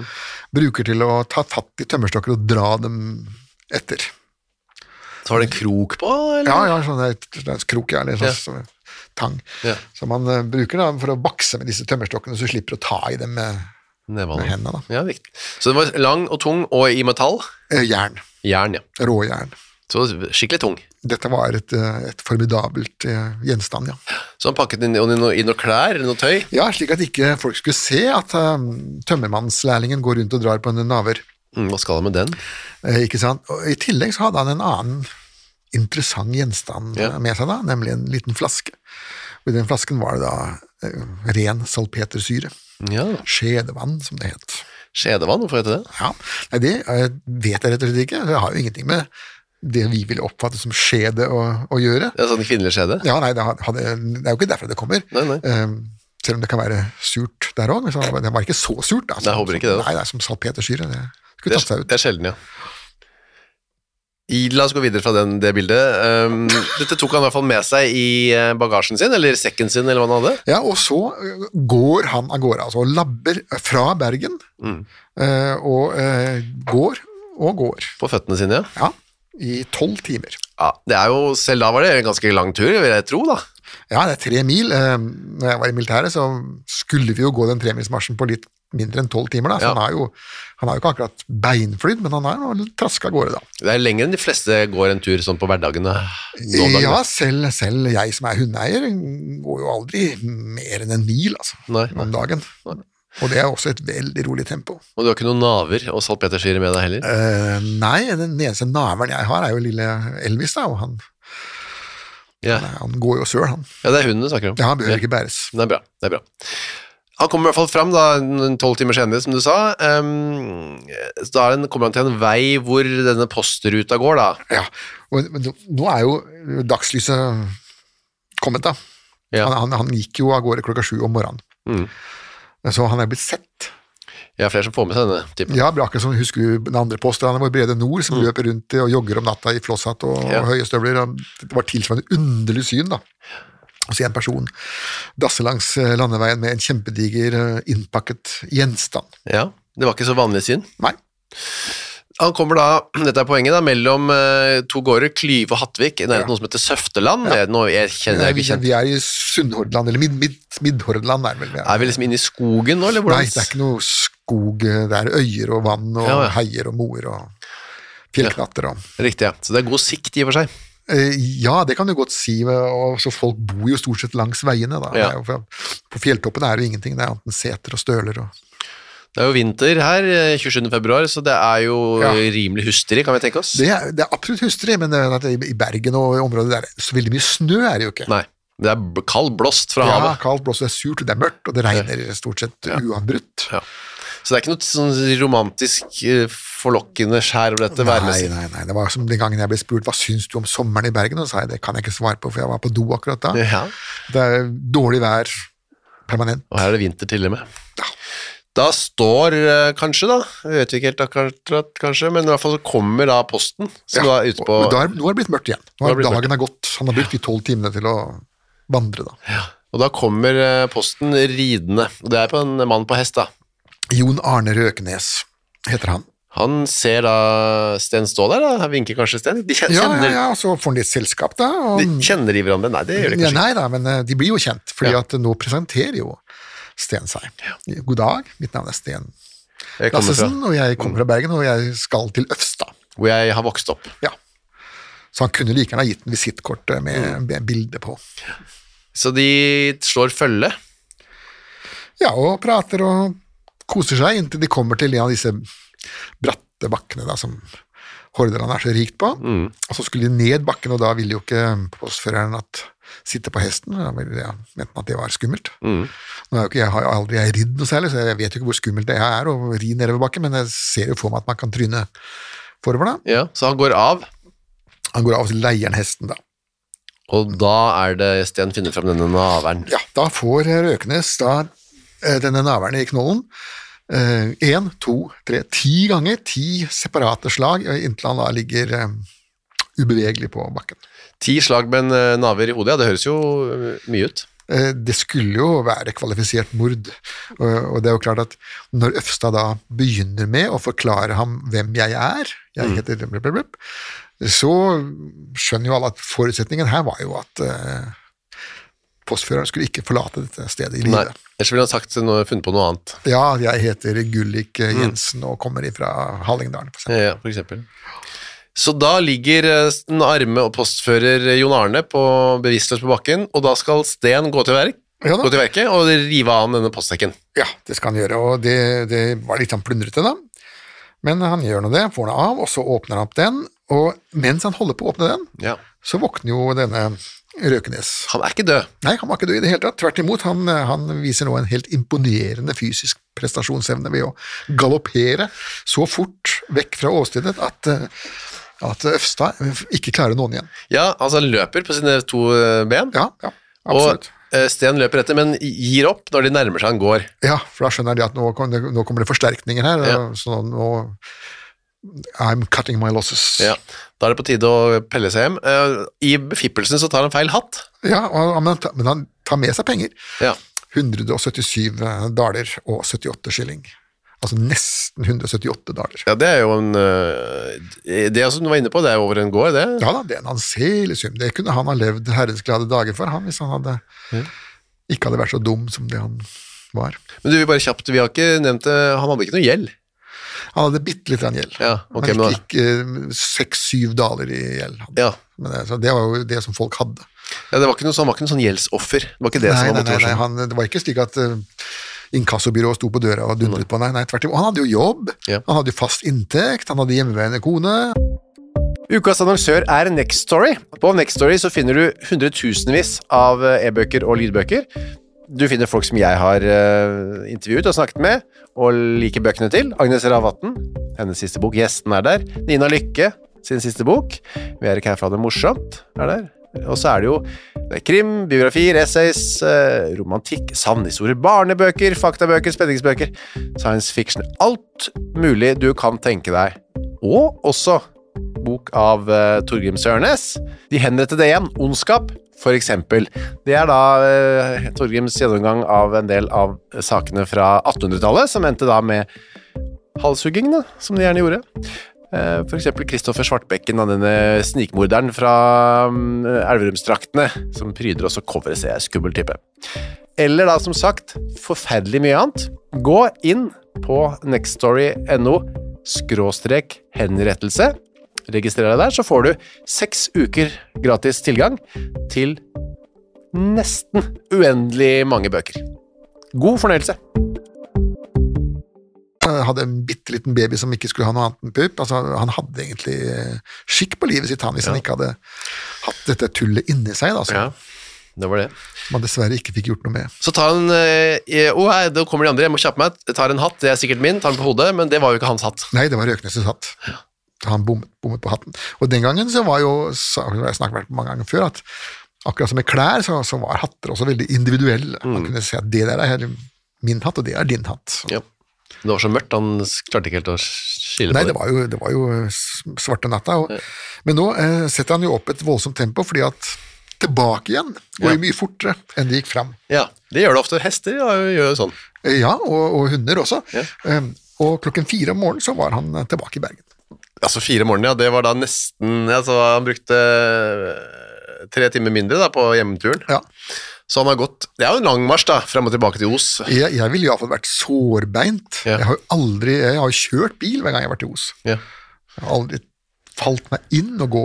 Speaker 3: bruker til å ta fatt i tømmerstokker og dra dem etter.
Speaker 2: Så var det en krok på, eller?
Speaker 3: Ja, ja, sånn der, der krok, ja, eller sånn, sånn tang.
Speaker 2: Ja.
Speaker 3: Som man eh, bruker da, for å bakse med disse tømmerstokkene, så du slipper å ta i dem med
Speaker 2: Nevene.
Speaker 3: med hendene, da.
Speaker 2: Ja, viktig. Så den var lang og tung, og i metall.
Speaker 3: eh, jern.
Speaker 2: Jern, ja.
Speaker 3: Råjern.
Speaker 2: Så skikkelig tung.
Speaker 3: Dette var et, eh, et formidabelt eh, gjenstand, ja.
Speaker 2: Så han pakket inn, inn, noe- i noe klær, eller noe tøy.
Speaker 3: Ja, slik at ikke folk skulle se at eh, tømmermannslærlingen går rundt og drar på en naver.
Speaker 2: Mm, hva skal han med den?
Speaker 3: Eh, ikke sant? Og I tillegg så hadde han en annen interessant gjenstand
Speaker 2: Ja.
Speaker 3: med seg da, nemlig en liten flaske. Og i den flasken var det da eh, ren salpetersyre.
Speaker 2: Ja,
Speaker 3: Skjedevann, som det het.
Speaker 2: skjedevann, hvorfor heter det?
Speaker 3: Ja, Nei, det eh, vet jeg rett og slett ikke. Det har jo ingenting med det vi ville oppfatte som skjede å, å gjøre.
Speaker 2: Det er sånn kvinnelig skjede.
Speaker 3: Ja, nei, det, hadde, det er jo ikke derfra det kommer.
Speaker 2: Nei, nei.
Speaker 3: Ehm, selv om det kan være surt der òg. Det var ikke så surt. da.
Speaker 2: Nei, jeg håper ikke det, da.
Speaker 3: Nei, det er som salpetersyre. Det skulle
Speaker 2: Det
Speaker 3: tatt
Speaker 2: er,
Speaker 3: seg ut.
Speaker 2: det er sjelden, ja. I, la oss gå videre fra den, det bildet. Um, dette tok han i hvert fall med seg i eh, bagasjen sin, eller sekken sin, eller hva han hadde.
Speaker 3: Ja, og så øh, går han av gårde, altså og labber fra Bergen,
Speaker 2: Mm.
Speaker 3: øh, og øh, går og går,
Speaker 2: På føttene sine, ja.
Speaker 3: ja, i tolv timer.
Speaker 2: ja. Det er jo, selv da var det en ganske lang tur, vil jeg tro, da.
Speaker 3: Ja, det er tre mil. Ehm, Når jeg var i militæret, så skulle vi jo gå den tremilsmarsjen på litt mindre enn tolv timer, da, så
Speaker 2: Ja.
Speaker 3: han, er jo, han er jo ikke akkurat beinflydd, men han er nå traska av gårde, da.
Speaker 2: Det er lenger enn de fleste går en tur sånn på hverdagene. nå om dagen.
Speaker 3: Ja, selv, selv jeg som er hundeeier, går jo aldri mer enn en mil altså,
Speaker 2: Nei, nei.
Speaker 3: om dagen. Og det er også et veldig rolig tempo.
Speaker 2: Og du har ikke noen naver og salpetersyre med deg heller?
Speaker 3: Eh, nei, den eneste naveren jeg har, er jo lille Elvis, da, og han,
Speaker 2: Ja,
Speaker 3: han går jo søl, han.
Speaker 2: ja det er hunden du snakker om.
Speaker 3: Ja, han behøver ikke bæres.
Speaker 2: Det er bra. det er bra. Han kommer i hvert fall fram da, en tolv timer senere, som du sa. Ehm, så da er han- kommer han til en vei hvor denne postruta går, da.
Speaker 3: Ja, og, men nå- nå er jo dagslyset kommet, da.
Speaker 2: Ja. Mm.
Speaker 3: Han, han, han gikk jo av gårde klokka sju om morgenen. Så han er blitt sett.
Speaker 2: Jeg er flere som får med seg denne typen.
Speaker 3: Ja, akkurat som husker du den andre påstanden vår, Brede Nord, som løper rundt i og jogger om natta i flosshatt og,
Speaker 2: Mm. Ja.
Speaker 3: og høye støvler. og Det var tilsvarende underlig syn, da. Å se en person dasse langs eh, landeveien med en kjempediger eh, innpakket gjenstand.
Speaker 2: Ja, Det var ikke så vanlig syn.
Speaker 3: Nei.
Speaker 2: Han kommer da, dette er poenget, da, mellom eh, to gårder, Klyve og Hattvik, i nærheten av noe som heter Søfteland. Det er noe jeg kjenner jeg
Speaker 3: eh, vi,
Speaker 2: ikke kjent.
Speaker 3: vi er i Sunnhordland, eller Mid Mid Midhordland er vel vi
Speaker 2: Er vi liksom inne i skogen nå, eller hvordan?
Speaker 3: Nei, det er ikke noe skog. eh, Det er øyer og vann og
Speaker 2: Ja, ja.
Speaker 3: heier og moer og fjellknatter og
Speaker 2: Riktig, ja. Så det er god sikt i og for seg.
Speaker 3: Eh, Ja, det kan du godt si. Og så folk bor jo stort sett langs veiene. Da.
Speaker 2: Ja.
Speaker 3: Det er jo fra- På fjelltoppene er det jo ingenting, det er enten seter og støler. Og,
Speaker 2: Det er jo vinter her, eh, 27. februar, så det er jo
Speaker 3: Ja.
Speaker 2: eh, rimelig hustrig, kan vi tenke oss.
Speaker 3: Det er, det er absolutt hustrig, men eh, at det i i Bergen og i området der så veldig mye snø er det jo ikke.
Speaker 2: Nei, det er b- kald blåst fra
Speaker 3: Ja,
Speaker 2: havet.
Speaker 3: kaldt, blåser, det er surt, og det er mørkt, og det regner stort sett uanbrutt.
Speaker 2: Ja. Så det er ikke noe sånn romantisk eh, forlokkende skjær over dette
Speaker 3: Nei,
Speaker 2: værmessig.
Speaker 3: nei, nei, det var som den gangen jeg ble spurt hva syns du om sommeren i Bergen, og så sa jeg det kan jeg ikke svare på, for jeg var på do akkurat da.
Speaker 2: Ja.
Speaker 3: Det er dårlig vær permanent.
Speaker 2: Og her er det vinter til og med. Da står eh, kanskje, da, vi vet ikke helt akkurat, kanskje, men i hvert fall så kommer da posten, som da er ute på
Speaker 3: Og da er, nå er det blitt mørkt igjen. Nå
Speaker 2: Nå er
Speaker 3: har
Speaker 2: det blitt
Speaker 3: dagen er gått. Han har brukt de tolv timene til å vandre, da.
Speaker 2: Og da kommer eh, posten ridende, og det er på en mann på hest, da.
Speaker 3: Jon Arne Røkenes heter han.
Speaker 2: Han ser da Sten stå der, da. Han vinker kanskje Sten. De kjenner,
Speaker 3: Ja, ja, ja, så får han litt selskap, da. Og,
Speaker 2: De, kjenner de hverandre? Nei, det gjør de
Speaker 3: ja,
Speaker 2: kanskje ikke.
Speaker 3: nei da, men eh, de blir jo kjent, fordi
Speaker 2: Ja.
Speaker 3: at nå presenterer jo Sten seg. God dag, mitt navn er Sten
Speaker 2: Jeg kommer fra Mm.
Speaker 3: Lassesen, og jeg kommer fra Bergen, og jeg skal til Øfstad.
Speaker 2: hvor jeg har vokst opp.
Speaker 3: Ja. Så han kunne like gjerne ha gitt den visittkortet
Speaker 2: Mm.
Speaker 3: med, med bilde på.
Speaker 2: Så de slår følge.
Speaker 3: Ja, og prater og koser seg inntil de kommer til en av disse bratte bakkene da, som Hordaland er så rikt på. Og så skulle de ned bakken, og da ville jo ikke postføreren at sitte på hesten. Da ville jeg, mente han at det var skummelt. Nå er jo ikke, jeg har jo aldri jeg ridd noe særlig, så jeg vet jo ikke hvor skummelt det er å ri nedover bakken, men jeg ser jo for meg at man kan tryne forover da.
Speaker 2: Ja, så han går av,
Speaker 3: Han går av og til leieren hesten da.
Speaker 2: og da er det Sten finner fram denne naveren.
Speaker 3: Ja, da får Røkenes da eh, denne naverne i knollen én, to, tre, ti ganger. Ti separate slag eh, inntil han da ligger eh, ubevegelig på bakken.
Speaker 2: Ti slag med en eh, naver i hodet, ja, det høres jo eh, mye ut.
Speaker 3: Eh, Det skulle jo være kvalifisert mord, og og det er jo klart at når Øfstad da begynner med å forklare ham hvem jeg er, jeg heter blip, blip, blip, så skjønner jo alle at forutsetningen her var jo at eh, postføreren skulle ikke forlate dette stedet i
Speaker 2: Nei,
Speaker 3: livet.
Speaker 2: ellers ville han sagt noe, funnet på noe annet.
Speaker 3: Ja, jeg heter Gullik eh, Jensen og kommer ifra Hallingdalen. For eksempel.
Speaker 2: Ja, for eksempel. Så da ligger eh, den arme og postfører eh, Jon Arne på, bevisstløs på bakken, og da skal Sten gå til, verk,
Speaker 3: Ja da.
Speaker 2: gå til verket og rive av ham denne postsekken.
Speaker 3: ja, det skal han gjøre, og det, det var litt sånn plundrete, da. Men han gjør nå det, får den av, og så åpner han opp den, og mens han holder på å åpne den,
Speaker 2: Ja.
Speaker 3: så våkner jo denne Røkenes.
Speaker 2: Han er ikke død.
Speaker 3: Nei, han var ikke død i det hele tatt. Tvert imot, han, eh, han viser nå en helt imponerende fysisk prestasjonsevne ved å galoppere så fort vekk fra åstedet at, eh, at Øfstad ikke klarer å nå han igjen.
Speaker 2: Ja, altså han løper på sine to eh, ben,
Speaker 3: Ja, ja,
Speaker 2: og
Speaker 3: absolutt.
Speaker 2: eh, Sten løper etter, men gir opp når de nærmer seg han går.
Speaker 3: Ja, for da skjønner de at nå, kom det, nå kommer det forsterkninger her,
Speaker 2: Ja.
Speaker 3: så nå I'm cutting my losses.
Speaker 2: Ja. Da er det på tide å pelle seg hjem. Eh, I befippelsen så tar han feil hatt.
Speaker 3: Ja, og, men, han tar- men han tar med seg penger.
Speaker 2: Ja.
Speaker 3: 177 eh, daler og 78 skilling. Altså nesten 178 daler.
Speaker 2: ja, det er jo en eh, Det er som du var inne på, det er jo over en gård, det.
Speaker 3: Ja da, det er en anselig sum. Det kunne han ha levd herrensglade dager for, han, hvis han hadde ikke hadde vært så dum som det han var.
Speaker 2: Men du, vi bare kjapt, vi har ikke nevnt det, han hadde ikke noe gjeld.
Speaker 3: Han hadde bitte litt grann gjeld.
Speaker 2: Ja, ok,
Speaker 3: han
Speaker 2: men da-
Speaker 3: gikk seks-syv eh, daler i gjeld. hadde
Speaker 2: Ja.
Speaker 3: han. Men det, så det var jo det som folk hadde.
Speaker 2: Ja, det var ikke noe, så han var ikke noe sånn gjeldsoffer. Det var ikke det
Speaker 3: nei,
Speaker 2: som var
Speaker 3: nei, nei, nei,
Speaker 2: motivasjonen.
Speaker 3: han, det var ikke slik at eh, inkassobyrået sto på døra og dundret på. Nei, nei, tvert imot. Han hadde jo jobb,
Speaker 2: Ja.
Speaker 3: han hadde jo fast inntekt, han hadde hjemmeværende kone.
Speaker 2: Ukas annonsør er Next Story. På Next Story så finner du hundretusenvis av eh, e-bøker og lydbøker. Du finner folk som jeg har eh, intervjuet og snakket med, og liker bøkene til. Agnes Ravatn, hennes siste bok. Gjesten er der. Nina Lykke, sin siste bok. Vi er ikke her for å ha det morsomt, er der. Og så er det jo det er krim, biografier, essays, eh, romantikk, savnhistorier, barnebøker, faktabøker, spenningsbøker, science fiction. Alt mulig du kan tenke deg. Og også bok av eh, Torgrim Sørnes. De henrettede igjen, Ondskap, for eksempel. Det er da eh, Torgrims gjennomgang av en del av sakene fra 1800-tallet, som endte da med halshuggingene, som de gjerne gjorde. Eh, For eksempel Kristoffer Svartbekken, da, denne snikmorderen fra mm, Elverumsdraktene, som pryder også coveret, ser jeg, skummel type. Eller da, som sagt, forferdelig mye annet. Gå inn på nextstory.no skråstrek henrettelse. Registrer deg der, så får du seks uker gratis tilgang til nesten uendelig mange bøker. God fornøyelse!
Speaker 3: eh, hadde en bitte liten baby som ikke skulle ha noe annet enn pupp. Altså, han hadde egentlig eh, skikk på livet sitt, han, hvis han ikke hadde hatt dette tullet inni seg, da, som
Speaker 2: Ja, det var det.
Speaker 3: man dessverre ikke fikk gjort noe med.
Speaker 2: Så tar han eh, i- Å, hei, da kommer de andre, jeg må kjappe meg. Tar en hatt, det er sikkert min. Tar den på hodet, men det var jo ikke hans hatt.
Speaker 3: Nei, det var Røknes' hatt. Han bommet, bommet på hatten. Og den gangen så var jo sa- det har jeg snakket om mange ganger før, at akkurat som med klær, så, så var hatter også veldig individuelle.
Speaker 2: Mm.
Speaker 3: Man kunne si at det der er min hatt, og det er din hatt.
Speaker 2: Ja. Det var så mørkt, han s- klarte ikke helt å skille
Speaker 3: Nei,
Speaker 2: på
Speaker 3: det
Speaker 2: det.
Speaker 3: var jo, det var jo eh, s- svarte natta. Og, men nå eh, setter han jo opp et voldsomt tempo, fordi at tilbake igjen går jo
Speaker 2: Ja.
Speaker 3: mye fortere enn det gikk fram.
Speaker 2: Ja, det gjør det ofte. Hester ja, gjør jo sånn.
Speaker 3: Eh, Ja, og, og hunder også.
Speaker 2: Ja.
Speaker 3: Eh, og klokken fire om morgenen så var han eh, tilbake i Bergen.
Speaker 2: Altså fire om morgenen, ja, det var da nesten altså, Han brukte eh, tre timer mindre da, på hjemturen.
Speaker 3: Ja.
Speaker 2: Så han har gått Det er jo en lang marsj, da, frem og tilbake til Os.
Speaker 3: Jeg, jeg ville iallfall vært sårbeint.
Speaker 2: Ja.
Speaker 3: Jeg har jo aldri jeg har jo kjørt bil hver gang jeg har vært i Os.
Speaker 2: Ja.
Speaker 3: Jeg har aldri falt meg inn og gå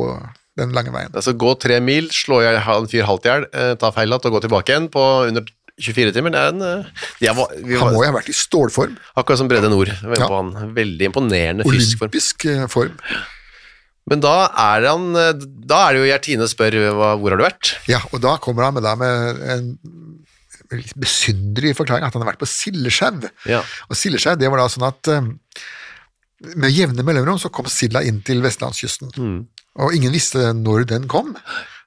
Speaker 3: den lange veien.
Speaker 2: Altså gå tre mil, slå i hjel- en fyr halvt i hjel, eh, ta feil hatt og gå tilbake igjen på under 24 timer. Det er en eh, jeg var, vi
Speaker 3: Han må
Speaker 2: var,
Speaker 3: jo ha vært i stålform.
Speaker 2: Akkurat som Brede Nord. Jeg var inne
Speaker 3: Ja.
Speaker 2: På han. Veldig imponerende fysisk form.
Speaker 3: Olympisk eh, form.
Speaker 2: Men da er, han, eh, da er det jo Gjertine spør eh, hva, hvor har du vært?
Speaker 3: Ja, og da kommer han med, da med en litt besynderlig forklaring at han har vært på Sildeskjev.
Speaker 2: Ja.
Speaker 3: Og Sildeskjev, det var da sånn at eh, med jevne mellomrom så kom silda inn til vestlandskysten.
Speaker 2: Mm.
Speaker 3: Og ingen visste når den kom,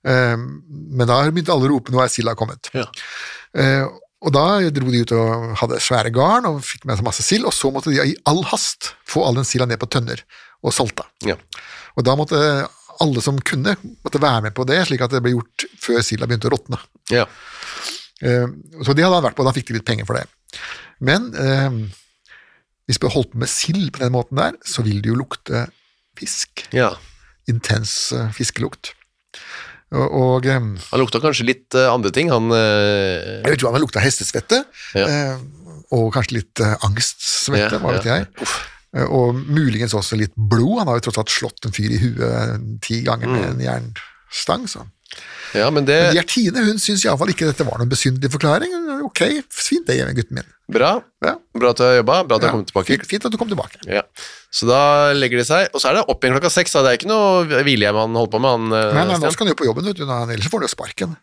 Speaker 3: Eh, men da begynte alle å rope 'nå er silda kommet'.
Speaker 2: Ja.
Speaker 3: Eh, og da dro de ut og hadde svære garn og fikk med seg masse sild, og så måtte de i all hast få all den silda ned på tønner og salta.
Speaker 2: Ja.
Speaker 3: Og da måtte alle som kunne, måtte være med på det, slik at det ble gjort før silda begynte å råtne.
Speaker 2: ja.
Speaker 3: Eh, Så det hadde han vært på, da fikk de litt penger for det. Men eh, hvis du holdt på med sild på den måten der, så vil det jo lukte fisk.
Speaker 2: ja.
Speaker 3: Intens eh, fiskelukt. Og, og eh,
Speaker 2: Han lukta kanskje litt eh, andre ting, han eh,
Speaker 3: jeg tror han lukta hestesvette,
Speaker 2: Ja.
Speaker 3: eh, og kanskje litt eh, angstsvette,
Speaker 2: Ja,
Speaker 3: hva vet
Speaker 2: ja.
Speaker 3: jeg. Eh, Og muligens også litt blod. Han har jo tross alt slått en fyr i huet eh, ti ganger med
Speaker 2: Mm.
Speaker 3: en jernstang. Så.
Speaker 2: Ja, men det
Speaker 3: Men Gjertine hun syns iallfall ikke dette var noen besynderlig forklaring. Ok, fint det, gutten min.
Speaker 2: Bra.
Speaker 3: Ja.
Speaker 2: Bra at du har jobba, bra at du har kommet tilbake.
Speaker 3: Fint, fint at du kom tilbake.
Speaker 2: Ja. Så da legger de seg, og så er det opp igjen klokka seks. Da. Det er ikke noe hvilehjem han holder på med. Han, eh,
Speaker 3: Nei, nei, nå
Speaker 2: Stian.
Speaker 3: skal han jo på jobben, vet du. nå- Ellers får han jo sparken.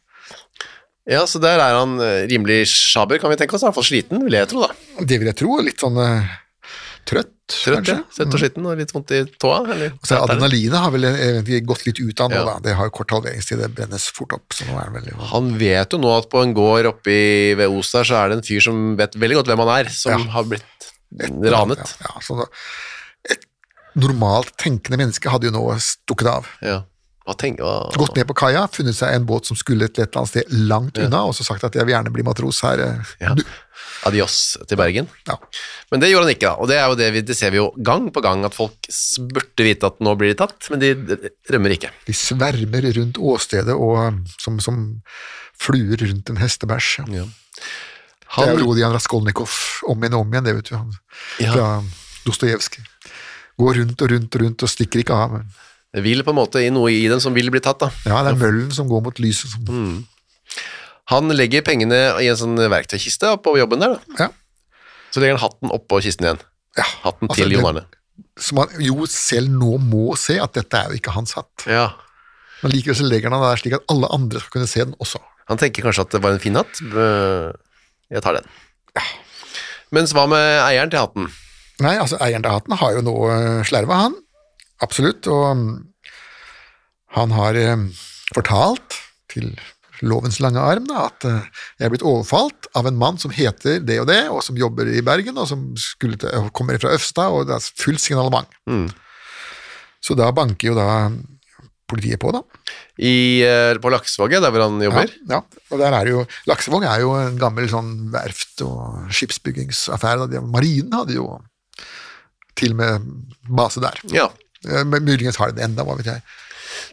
Speaker 2: Ja, Så der er han eh, rimelig sjaber, kan vi tenke oss. I hvert fall sliten, vil jeg tro. da.
Speaker 3: Det vil jeg tro. Litt sånn eh, trøtt,
Speaker 2: Trøtt, ja.
Speaker 3: kanskje. Mm.
Speaker 2: Svett og sliten og litt vondt i tåa. Eller?
Speaker 3: Så adrenalinet har vel eh, egentlig gått litt ut av nå,
Speaker 2: Ja.
Speaker 3: da. Det har jo kort halveringstid, det brennes fort opp. Så nå er det veldig...
Speaker 2: Han vet jo nå at på en gård oppe i- ved Os der, så er det en fyr som vet veldig godt hvem han er, som
Speaker 3: Ja.
Speaker 2: har blitt ranet.
Speaker 3: Ja, ja, så da, et normalt tenkende menneske hadde jo nå stukket av.
Speaker 2: Ja. Hva tenker hva-
Speaker 3: Gått ned på kaia, funnet seg en båt som skulle til et eller annet sted langt unna, og så sagt at jeg vil gjerne bli matros her. eh,
Speaker 2: Ja.
Speaker 3: Du,
Speaker 2: Adios til Bergen.
Speaker 3: ja.
Speaker 2: Men det gjorde han ikke, da. Og det, er jo det, vi, det ser vi jo gang på gang, at folk s- burde vite at nå blir de tatt, men de d- rømmer ikke.
Speaker 3: De svermer rundt åstedet og, eh, som, som fluer rundt en hestebæsj. Ja. Det er
Speaker 2: Han,
Speaker 3: jo Rodian Raskolnikov om igjen og om igjen, det vet du. Han,
Speaker 2: Ja.
Speaker 3: Fra Dostojevskij. Går rundt og rundt og rundt og stikker ikke av.
Speaker 2: Det vil på en måte i noe i dem som vil bli tatt. da.
Speaker 3: Ja, det er møllen som går mot lyset. Som,
Speaker 2: Mm. Han legger pengene i en sånn verktøykiste oppå jobben der. da.
Speaker 3: ja.
Speaker 2: Så legger han hatten oppå kisten igjen. Hatten
Speaker 3: altså,
Speaker 2: til
Speaker 3: det-
Speaker 2: Jon Arne.
Speaker 3: Som han jo selv nå må se at dette er jo ikke hans hatt.
Speaker 2: Ja.
Speaker 3: Men likevel så legger han den der slik at alle andre skal kunne se den også.
Speaker 2: Han tenker kanskje at det var en fin hatt. Bø, Jeg tar den. Mens hva med eieren til hatten?
Speaker 3: Nei, altså eieren til hatten har jo nå eh, slerva, han. Absolutt. Og mm, han har eh, fortalt til lovens lange arm da, at eh, jeg er blitt overfalt av en mann som heter det og det, og som jobber i Bergen, og som skulle til, og kommer fra Øfstad, og det er fullt signalement. Så da banker jo da politiet på, da.
Speaker 2: I, eh, på Laksevåget, der hvor han
Speaker 3: Ja,
Speaker 2: jobber?
Speaker 3: ja. Og der er jo, Laksevåg er jo en gammel sånn verft- og skipsbyggingsaffære. Da. De- Marinen hadde jo til og med base der.
Speaker 2: Ja.
Speaker 3: Eh, Men muligens har de det enda, hva vet jeg.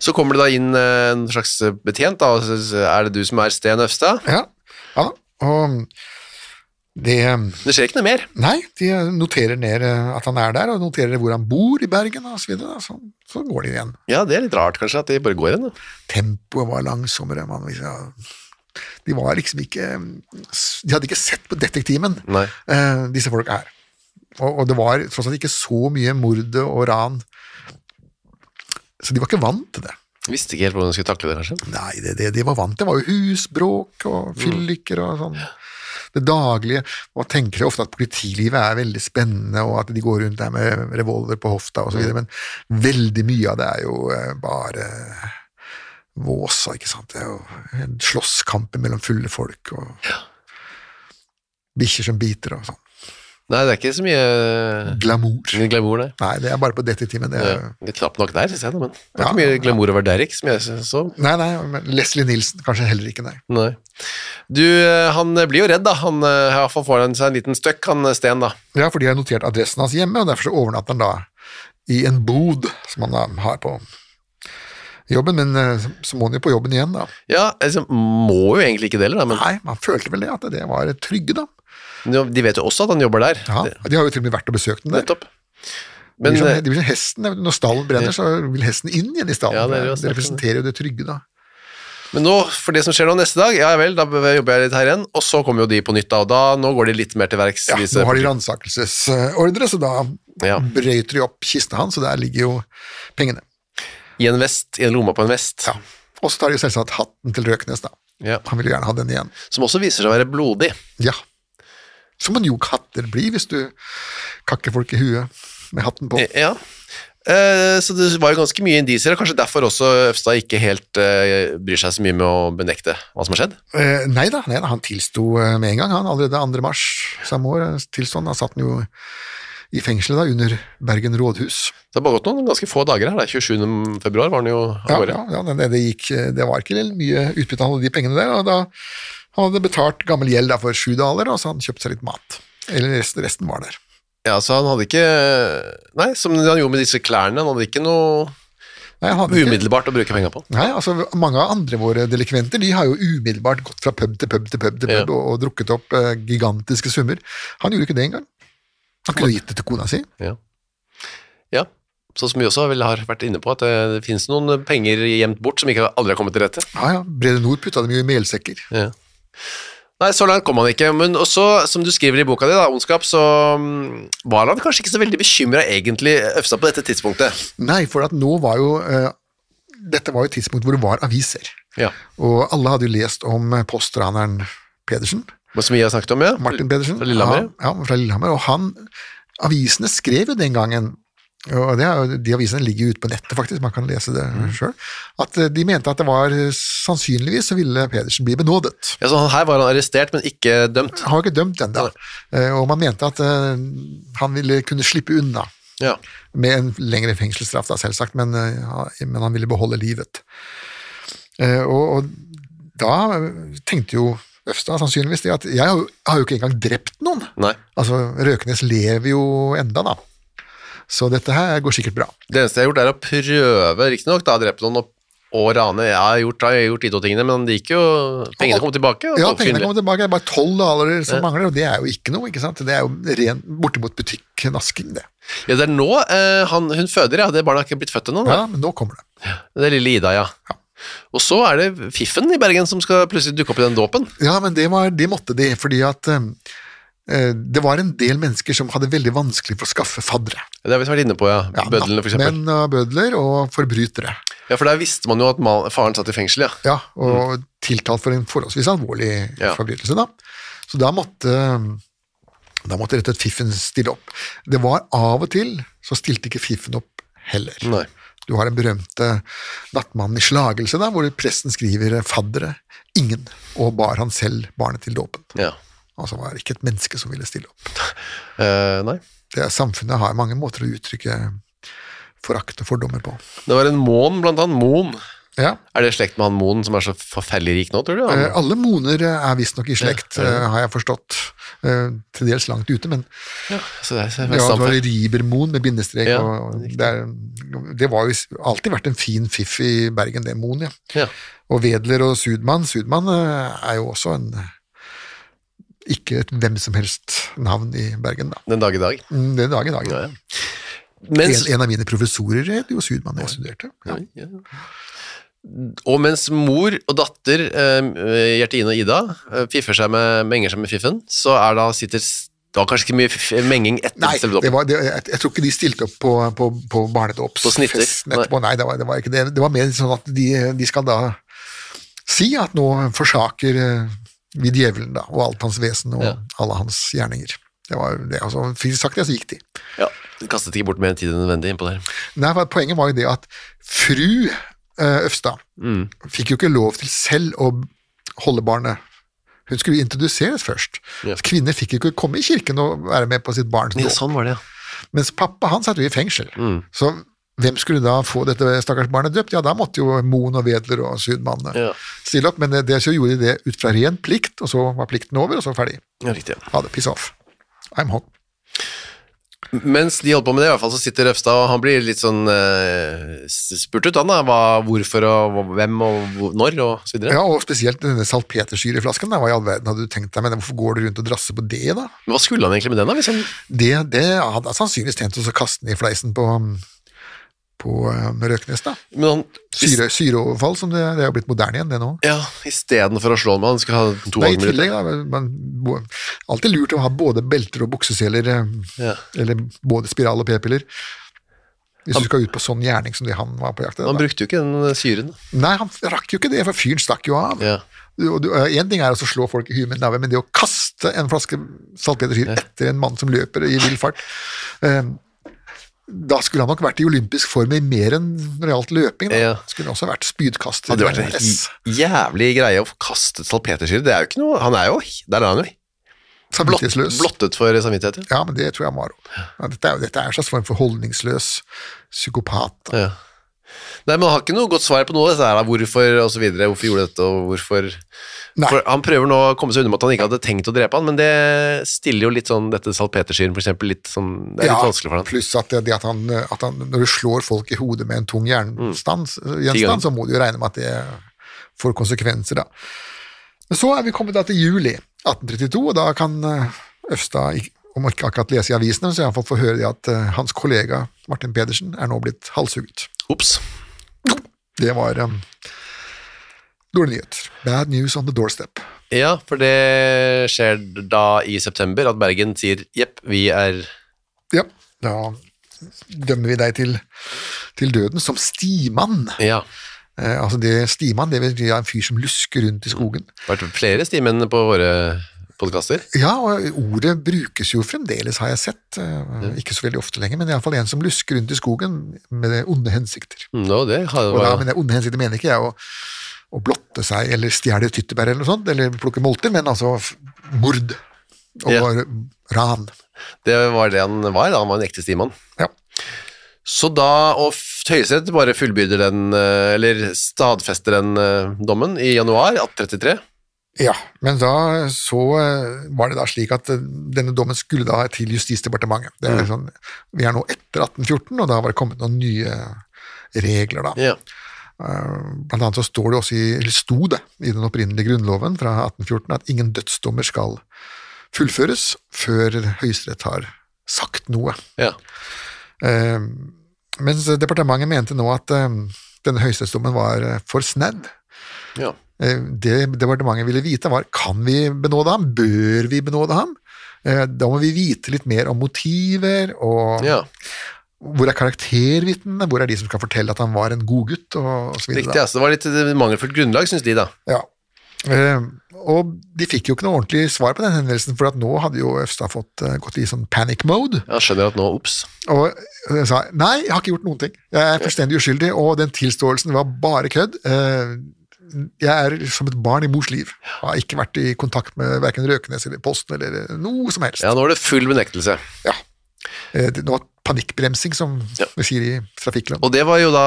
Speaker 2: Så kommer det da inn eh, en slags betjent, da, og så så er det du som er Sten Øfstad?
Speaker 3: Ja, ja da. Og det
Speaker 2: Det skjer ikke noe mer.
Speaker 3: Nei, de noterer ned eh, at han er der, og noterer hvor han bor i Bergen og så videre. da. Så, så går de igjen.
Speaker 2: Ja, det er litt rart kanskje at de bare går igjen. da.
Speaker 3: Tempoet var langsommere. Man, liksom- de var liksom ikke De hadde ikke sett på detektimen,
Speaker 2: Nei.
Speaker 3: eh, disse folk her. Og, og det var tross alt ikke så mye mord og ran. Så de var ikke vant til det.
Speaker 2: Visste ikke helt hvordan de skulle takle det, kanskje.
Speaker 3: Nei, det, det de var vant til, var jo husbråk og fylliker og sånn. Det daglige. Og tenker ofte at politilivet er veldig spennende, og at de går rundt der med revolver på hofta osv., videre, men veldig mye av det er jo eh, bare våsa, ikke sant. Det er jo en slåsskamper mellom fulle folk og bikkjer som biter og sånn.
Speaker 2: Nei, det er ikke så mye eh,
Speaker 3: Glamour.
Speaker 2: mye glamour, nei.
Speaker 3: Nei, det er bare på detektiven. Det er,
Speaker 2: Ja, Litt knapt nok der, synes jeg. da, Men det var
Speaker 3: Ja.
Speaker 2: ikke mye glamour over Derrick, som jeg så.
Speaker 3: Nei, nei, men Leslie Nilsen kanskje heller ikke, nei.
Speaker 2: Nei. Du, eh, han blir jo redd, da. Han eh, i hvert fall får han seg en liten støkk, han eh, Sten, da.
Speaker 3: Ja, fordi jeg har notert adressen hans hjemme, og derfor så overnatter han da i en bod som han da har på jobben, men eh, så- så må han jo på jobben igjen, da.
Speaker 2: Ja, altså, må jo egentlig ikke det heller, da, men
Speaker 3: Nei, man følte vel det, at det var trygge, da.
Speaker 2: nå- de vet jo også at han jobber der.
Speaker 3: Ja, de har jo til og med vært og besøkt den der.
Speaker 2: Nettopp.
Speaker 3: De
Speaker 2: Men
Speaker 3: blir som,
Speaker 2: eh,
Speaker 3: de blir som hesten, vet du, når stallen brenner, så vil hesten inn igjen i stallen.
Speaker 2: Ja, det er
Speaker 3: det,
Speaker 2: jo snakk om det.
Speaker 3: representerer jo det trygge, da.
Speaker 2: Men nå, for det som skjer nå neste dag, ja vel, da jobber jeg litt her igjen, og så kommer jo de på nytt da, og da, nå går de litt mer til verks.
Speaker 3: Ja,
Speaker 2: disse-
Speaker 3: nå har de ransakelsesordre, så da
Speaker 2: Ja.
Speaker 3: brøyter de opp kista hans, og der ligger jo pengene.
Speaker 2: I en vest, i en lomma på en vest,
Speaker 3: Ja. Og så tar de jo selvsagt hatten til Røknes, da.
Speaker 2: Ja.
Speaker 3: Han vil jo gjerne ha den igjen.
Speaker 2: som også viser seg å være blodig.
Speaker 3: Ja. Som man jo katter blir hvis du kakker folk i huet med hatten på.
Speaker 2: Ja. Eh, Så det var jo ganske mye indisier, og kanskje derfor også Øfstad ikke helt eh, bryr seg så mye med å benekte hva som har skjedd.
Speaker 3: Eh, nei da, nei da, han tilsto eh, med en gang, han allerede 2. mars samme år. eh, Tilstod han, da satt han jo i fengselet da, under Bergen rådhus.
Speaker 2: Det har bare gått noen ganske få dager her, da. 27. februar var den jo av
Speaker 3: Ja,
Speaker 2: gårde.
Speaker 3: ja, ja det, det, gikk, eh, det var ikke mye utbytte han hadde de pengene der, og da han hadde betalt gammel gjeld da for sju daler, og så han kjøpte seg litt mat. Eller resten, resten var der.
Speaker 2: Ja, så han hadde ikke Nei, som han gjorde med disse klærne, han hadde ikke noe
Speaker 3: Nei, han hadde ikke-
Speaker 2: umiddelbart å bruke penger på.
Speaker 3: Nei, altså Mange av andre våre delikventer de har jo umiddelbart gått fra pub til pub til pub til
Speaker 2: Ja.
Speaker 3: pub og, og drukket opp eh, gigantiske summer. Han gjorde ikke det engang. Han kunne gitt det til kona si.
Speaker 2: Ja. ja. Sånn som vi også vel har vært inne på, at det, det finnes noen penger gjemt bort som ikke aldri har kommet til rette.
Speaker 3: Ja, ja, Brede Nord putta dem jo i melsekker.
Speaker 2: Ja. Nei, så langt kom han ikke, men også, som du skriver i boka di, da, Ondskap, så mm, var han kanskje ikke så veldig bekymra egentlig, Øfstad, på dette tidspunktet.
Speaker 3: Nei, for at nå var jo eh, Dette var jo et tidspunkt hvor det var aviser.
Speaker 2: Ja.
Speaker 3: Og alle hadde jo lest om eh, postraneren Pedersen.
Speaker 2: Som vi har snakket om, ja.
Speaker 3: Martin Pedersen.
Speaker 2: Fra Lillehammer.
Speaker 3: Ja, ja, fra Lillehammer. Og han, avisene skrev jo den gangen, og det er, jo- de avisene ligger jo ute på nettet faktisk, man kan lese det
Speaker 2: Mm.
Speaker 3: selv, at eh, de mente at det var eh, sannsynligvis så ville Pedersen bli benådet.
Speaker 2: ja. Så han her var han arrestert, men ikke dømt.
Speaker 3: Han var ikke dømt ennå, og man mente at eh, han ville kunne slippe unna
Speaker 2: Ja.
Speaker 3: med en lengre fengselsstraff, da, selvsagt, men, eh, ja, men han ville beholde livet. Eh, Og, og da tenkte jo Øfstad sannsynligvis det at jeg har jo- har jo ikke engang drept noen.
Speaker 2: Nei.
Speaker 3: Altså, Røkenes lever jo enda, da. Så dette her går sikkert bra.
Speaker 2: Det eneste jeg har gjort, er å prøve, riktignok, da drepe noen og, og rane. Jeg har gjort, jeg har gjort de to tingene, men det gikk jo Pengene kom tilbake. og
Speaker 3: Ja,
Speaker 2: folk
Speaker 3: pengene
Speaker 2: synlig.
Speaker 3: kommer tilbake. Det er bare tolv daler som mangler, og det er jo ikke noe. ikke sant? Det er jo ren bortimot butikknasking, det.
Speaker 2: Ja, det er nå eh, han, hun føder, ja. Det barnet har ikke blitt født ennå. da.
Speaker 3: Ja, Men nå kommer det.
Speaker 2: Det er lille Ida, ja. Og så er det Fiffen i Bergen som skal plutselig dukke opp i den dåpen.
Speaker 3: Ja, men det, var, det måtte de, fordi at eh, det var en del mennesker som hadde veldig vanskelig for å skaffe faddere.
Speaker 2: Det har vi vært inne på, ja.
Speaker 3: Ja,
Speaker 2: Bødlene, for eksempel.
Speaker 3: Menn og bødler og forbrytere.
Speaker 2: Ja, for der visste man jo at ma- faren satt i fengsel, ja.
Speaker 3: Ja, og tiltalt for en forholdsvis alvorlig
Speaker 2: Ja.
Speaker 3: forbrytelse, da. Så da måtte, da måtte rett og slett Fiffen stille opp. Det var av og til så stilte ikke Fiffen opp heller.
Speaker 2: Nei.
Speaker 3: Du har den berømte Nattmannen i Slagelse, da, hvor presten skriver 'faddere ingen', og bar han selv barnet til dåpen.
Speaker 2: Ja.
Speaker 3: Altså var det ikke et menneske som ville stille opp.
Speaker 2: Eh, nei.
Speaker 3: Det er, samfunnet har mange måter å uttrykke forakt og fordommer på.
Speaker 2: Det var en mån, blant annet. Moen.
Speaker 3: Ja,
Speaker 2: Er det slekt med han Moen som er så forferdelig rik nå, tror du? Han-
Speaker 3: Eh, Alle moner er visstnok i slekt, eh, har jeg forstått. Eh, Til dels langt ute, men
Speaker 2: Så det er, så det er
Speaker 3: ja, det var
Speaker 2: stamfar.
Speaker 3: Ribermoen med bindestrek.
Speaker 2: Ja,
Speaker 3: og og det, er, det var jo s- alltid vært en fin fiff i Bergen, det Moen, ja.
Speaker 2: ja.
Speaker 3: Og Wedler og Sudmann. Sudmann eh, er jo også en ikke et hvem som helst navn i Bergen, da.
Speaker 2: Den dag i dag.
Speaker 3: Mm, Den dag i dag.
Speaker 2: Ja, ja.
Speaker 3: En,
Speaker 2: Mens,
Speaker 3: en av mine professorer het jo Sudmann da jeg studerte. Ja.
Speaker 2: Oi, ja. Og mens mor og datter, eh, Gjertine og Ida, eh, fiffer seg med, menger seg med fiffen, så er da sitter s- Det var kanskje ikke mye f- menging etter
Speaker 3: Nei,
Speaker 2: selve dåpen.
Speaker 3: det var, det, jeg, jeg tror ikke de stilte opp på, på, på
Speaker 2: På snitter?
Speaker 3: barnedåpsfesten etterpå. Nei, det var, det var ikke det. Det var mer sånn at de, de skal da si at nå forsaker eh, vi djevelen, da, og alt hans vesen og
Speaker 2: Ja.
Speaker 3: alle hans gjerninger. Det var det, altså, fint sagt det, så gikk de.
Speaker 2: Ja, de kastet ikke bort mer tid enn nødvendig innpå der.
Speaker 3: Nei, for poenget var jo det at fru eh, Øfstad
Speaker 2: Mm.
Speaker 3: fikk jo ikke lov til selv å holde barnet. Hun skulle introduseres først.
Speaker 2: Ja.
Speaker 3: Kvinner fikk jo ikke komme i kirken og være med på sitt barns dåp.
Speaker 2: Ja, sånn var det, ja.
Speaker 3: Mens pappa han satt jo i fengsel. Så hvem skulle da få dette stakkars barnet døpt? Ja, da måtte jo Moen og Wedler og Sydmannene
Speaker 2: Ja.
Speaker 3: stille opp, men eh, det, det så gjorde de det ut fra ren plikt, og så var plikten over, og så ferdig.
Speaker 2: ja riktig.
Speaker 3: Ha det, piss off. I'm home.
Speaker 2: Mens de holder på med det, i hvert fall så sitter Røfstad, og han blir litt sånn eh, s- spurt ut, han da. Hva, hvorfor og hva- hvem og hvor, når og så videre.
Speaker 3: Ja, og spesielt denne salpeterssyreflasken, da, hva i all verden hadde du tenkt deg med den, hvorfor går du rundt og drasser på det, da?
Speaker 2: Men hva skulle han egentlig med den, da? Hvis han,
Speaker 3: Det, det hadde jeg sannsynligvis tenkt oss å kaste den i fleisen på, på eh, Røknes, da.
Speaker 2: men han hvis-
Speaker 3: Syre, syreoverfall, som det, det er jo blitt moderne igjen, det nå.
Speaker 2: Ja, istedenfor å slå han med han, skulle ha to
Speaker 3: Nei, i
Speaker 2: halvminutter.
Speaker 3: tillegg, da. Man, bo- alltid lurt å ha både belter og bukseseler, eh,
Speaker 2: Ja.
Speaker 3: eller både spiral og p-piller. Hvis du skal ut på sånn gjerning som det han var på jakt etter.
Speaker 2: Han
Speaker 3: da.
Speaker 2: brukte jo ikke den eh, syren. da.
Speaker 3: Nei, han rakk jo ikke det, for fyren stakk jo av.
Speaker 2: Ja.
Speaker 3: Én ting er å slå folk i huet med en nave, men det å kaste en flaske saltpetersyre etter en mann som løper i vill fart eh, Da skulle han nok vært i olympisk form i mer enn når det gjaldt løping. Da.
Speaker 2: Ja.
Speaker 3: Skulle han også vært spydkaster.
Speaker 2: Hadde vært en
Speaker 3: eller S.
Speaker 2: helt jævlig greie å få kastet salpetersyre. Det er jo ikke noe Han er jo Der er han jo. Blott,
Speaker 3: Samvittighetsløs.
Speaker 2: blottet for samvittighet, ja.
Speaker 3: Ja, men det tror jeg Maro. Ja, dette, er, jo- dette er en slags form for holdningsløs psykopat. da.
Speaker 2: Ja. Nei, men han har ikke noe godt svar på noe av dette her, da. hvorfor og så videre, hvorfor gjorde dette og hvorfor
Speaker 3: Nei.
Speaker 2: For Han prøver nå å komme seg unna med at han ikke hadde tenkt å drepe han, men det stiller jo litt sånn dette salpetersyren for eksempel, litt sånn, det er litt
Speaker 3: Ja,
Speaker 2: vanskelig for han.
Speaker 3: Pluss at, det, det at, han, at han, når du slår folk i hodet med en tung jernstand,
Speaker 2: Mm. ganger.
Speaker 3: gjenstand, så må du jo regne med at det får konsekvenser, da. Men så er vi kommet da til juli 1832, og da kan eh, Øfstad, ik- om ikke akkurat lese i avisene, så iallfall få høre det at eh, hans kollega Martin Pedersen er nå blitt halshugget.
Speaker 2: Ops.
Speaker 3: Det var um, dårlige nyheter. Bad news on the doorstep.
Speaker 2: Ja, for det skjer da i september at Bergen sier jepp, vi er
Speaker 3: Ja, da dømmer vi deg til, til døden som stimann.
Speaker 2: Ja.
Speaker 3: Eh, altså det Stimann det vil si en fyr som lusker rundt i skogen.
Speaker 2: Vært flere stimenn på våre podkaster.
Speaker 3: Ja, og ordet brukes jo fremdeles, har jeg sett. Eh, ikke så veldig ofte lenger, men iallfall en som lusker rundt i skogen med onde hensikter.
Speaker 2: No, Mm, det har,
Speaker 3: Og da, men det onde hensikter mener ikke jeg å, å blotte seg eller stjele tyttebær eller noe sånt, eller plukke molter, men altså f- mord og
Speaker 2: Ja.
Speaker 3: ran.
Speaker 2: det var det han var. Da. Han var en ekte stimann.
Speaker 3: Ja.
Speaker 2: Så da, og f- Høyesterett bare fullbyrder den, eh, eller stadfester den eh, dommen i januar 1833.
Speaker 3: Ja, men da så eh, var det da slik at eh, denne dommen skulle da til Justisdepartementet. Det er sånn, vi er nå etter 1814, og da var det kommet noen nye regler, da.
Speaker 2: Ja.
Speaker 3: Blant annet så står det også i, eller sto det i den opprinnelige grunnloven fra 1814 at ingen dødsdommer skal fullføres før Høyesterett har sagt noe.
Speaker 2: ja.
Speaker 3: Eh, Mens departementet mente nå at eh, denne høyesterettsdommen var eh, for snau.
Speaker 2: ja.
Speaker 3: Eh, Det departementet ville vite, var kan vi benåde ham, bør vi benåde ham? Eh, Da må vi vite litt mer om motiver, og
Speaker 2: ja.
Speaker 3: hvor er karaktervitnene, hvor er de som skal fortelle at han var en god gutt, og, og så videre.
Speaker 2: Riktig. Ja. Så det var litt eh, mangelfullt grunnlag, syns de, da.
Speaker 3: Ja. Eh, og de fikk jo ikke noe ordentlig svar på den henvendelsen, for at nå hadde jo Øfstad fått eh, gått i sånn panic mode,
Speaker 2: Jeg skjønner at nå, ops.
Speaker 3: og eh, sa nei, jeg har ikke gjort noen ting. Jeg er fullstendig uskyldig, og den tilståelsen var bare kødd. Eh, jeg er som et barn i mors liv. Jeg har ikke vært i kontakt med verken Røkenes eller Posten eller eh, noe som helst.
Speaker 2: Ja, nå er det full benektelse.
Speaker 3: Ja. Eh, det var panikkbremsing, som
Speaker 2: Ja.
Speaker 3: vi sier i trafikkland.
Speaker 2: Og det var jo da,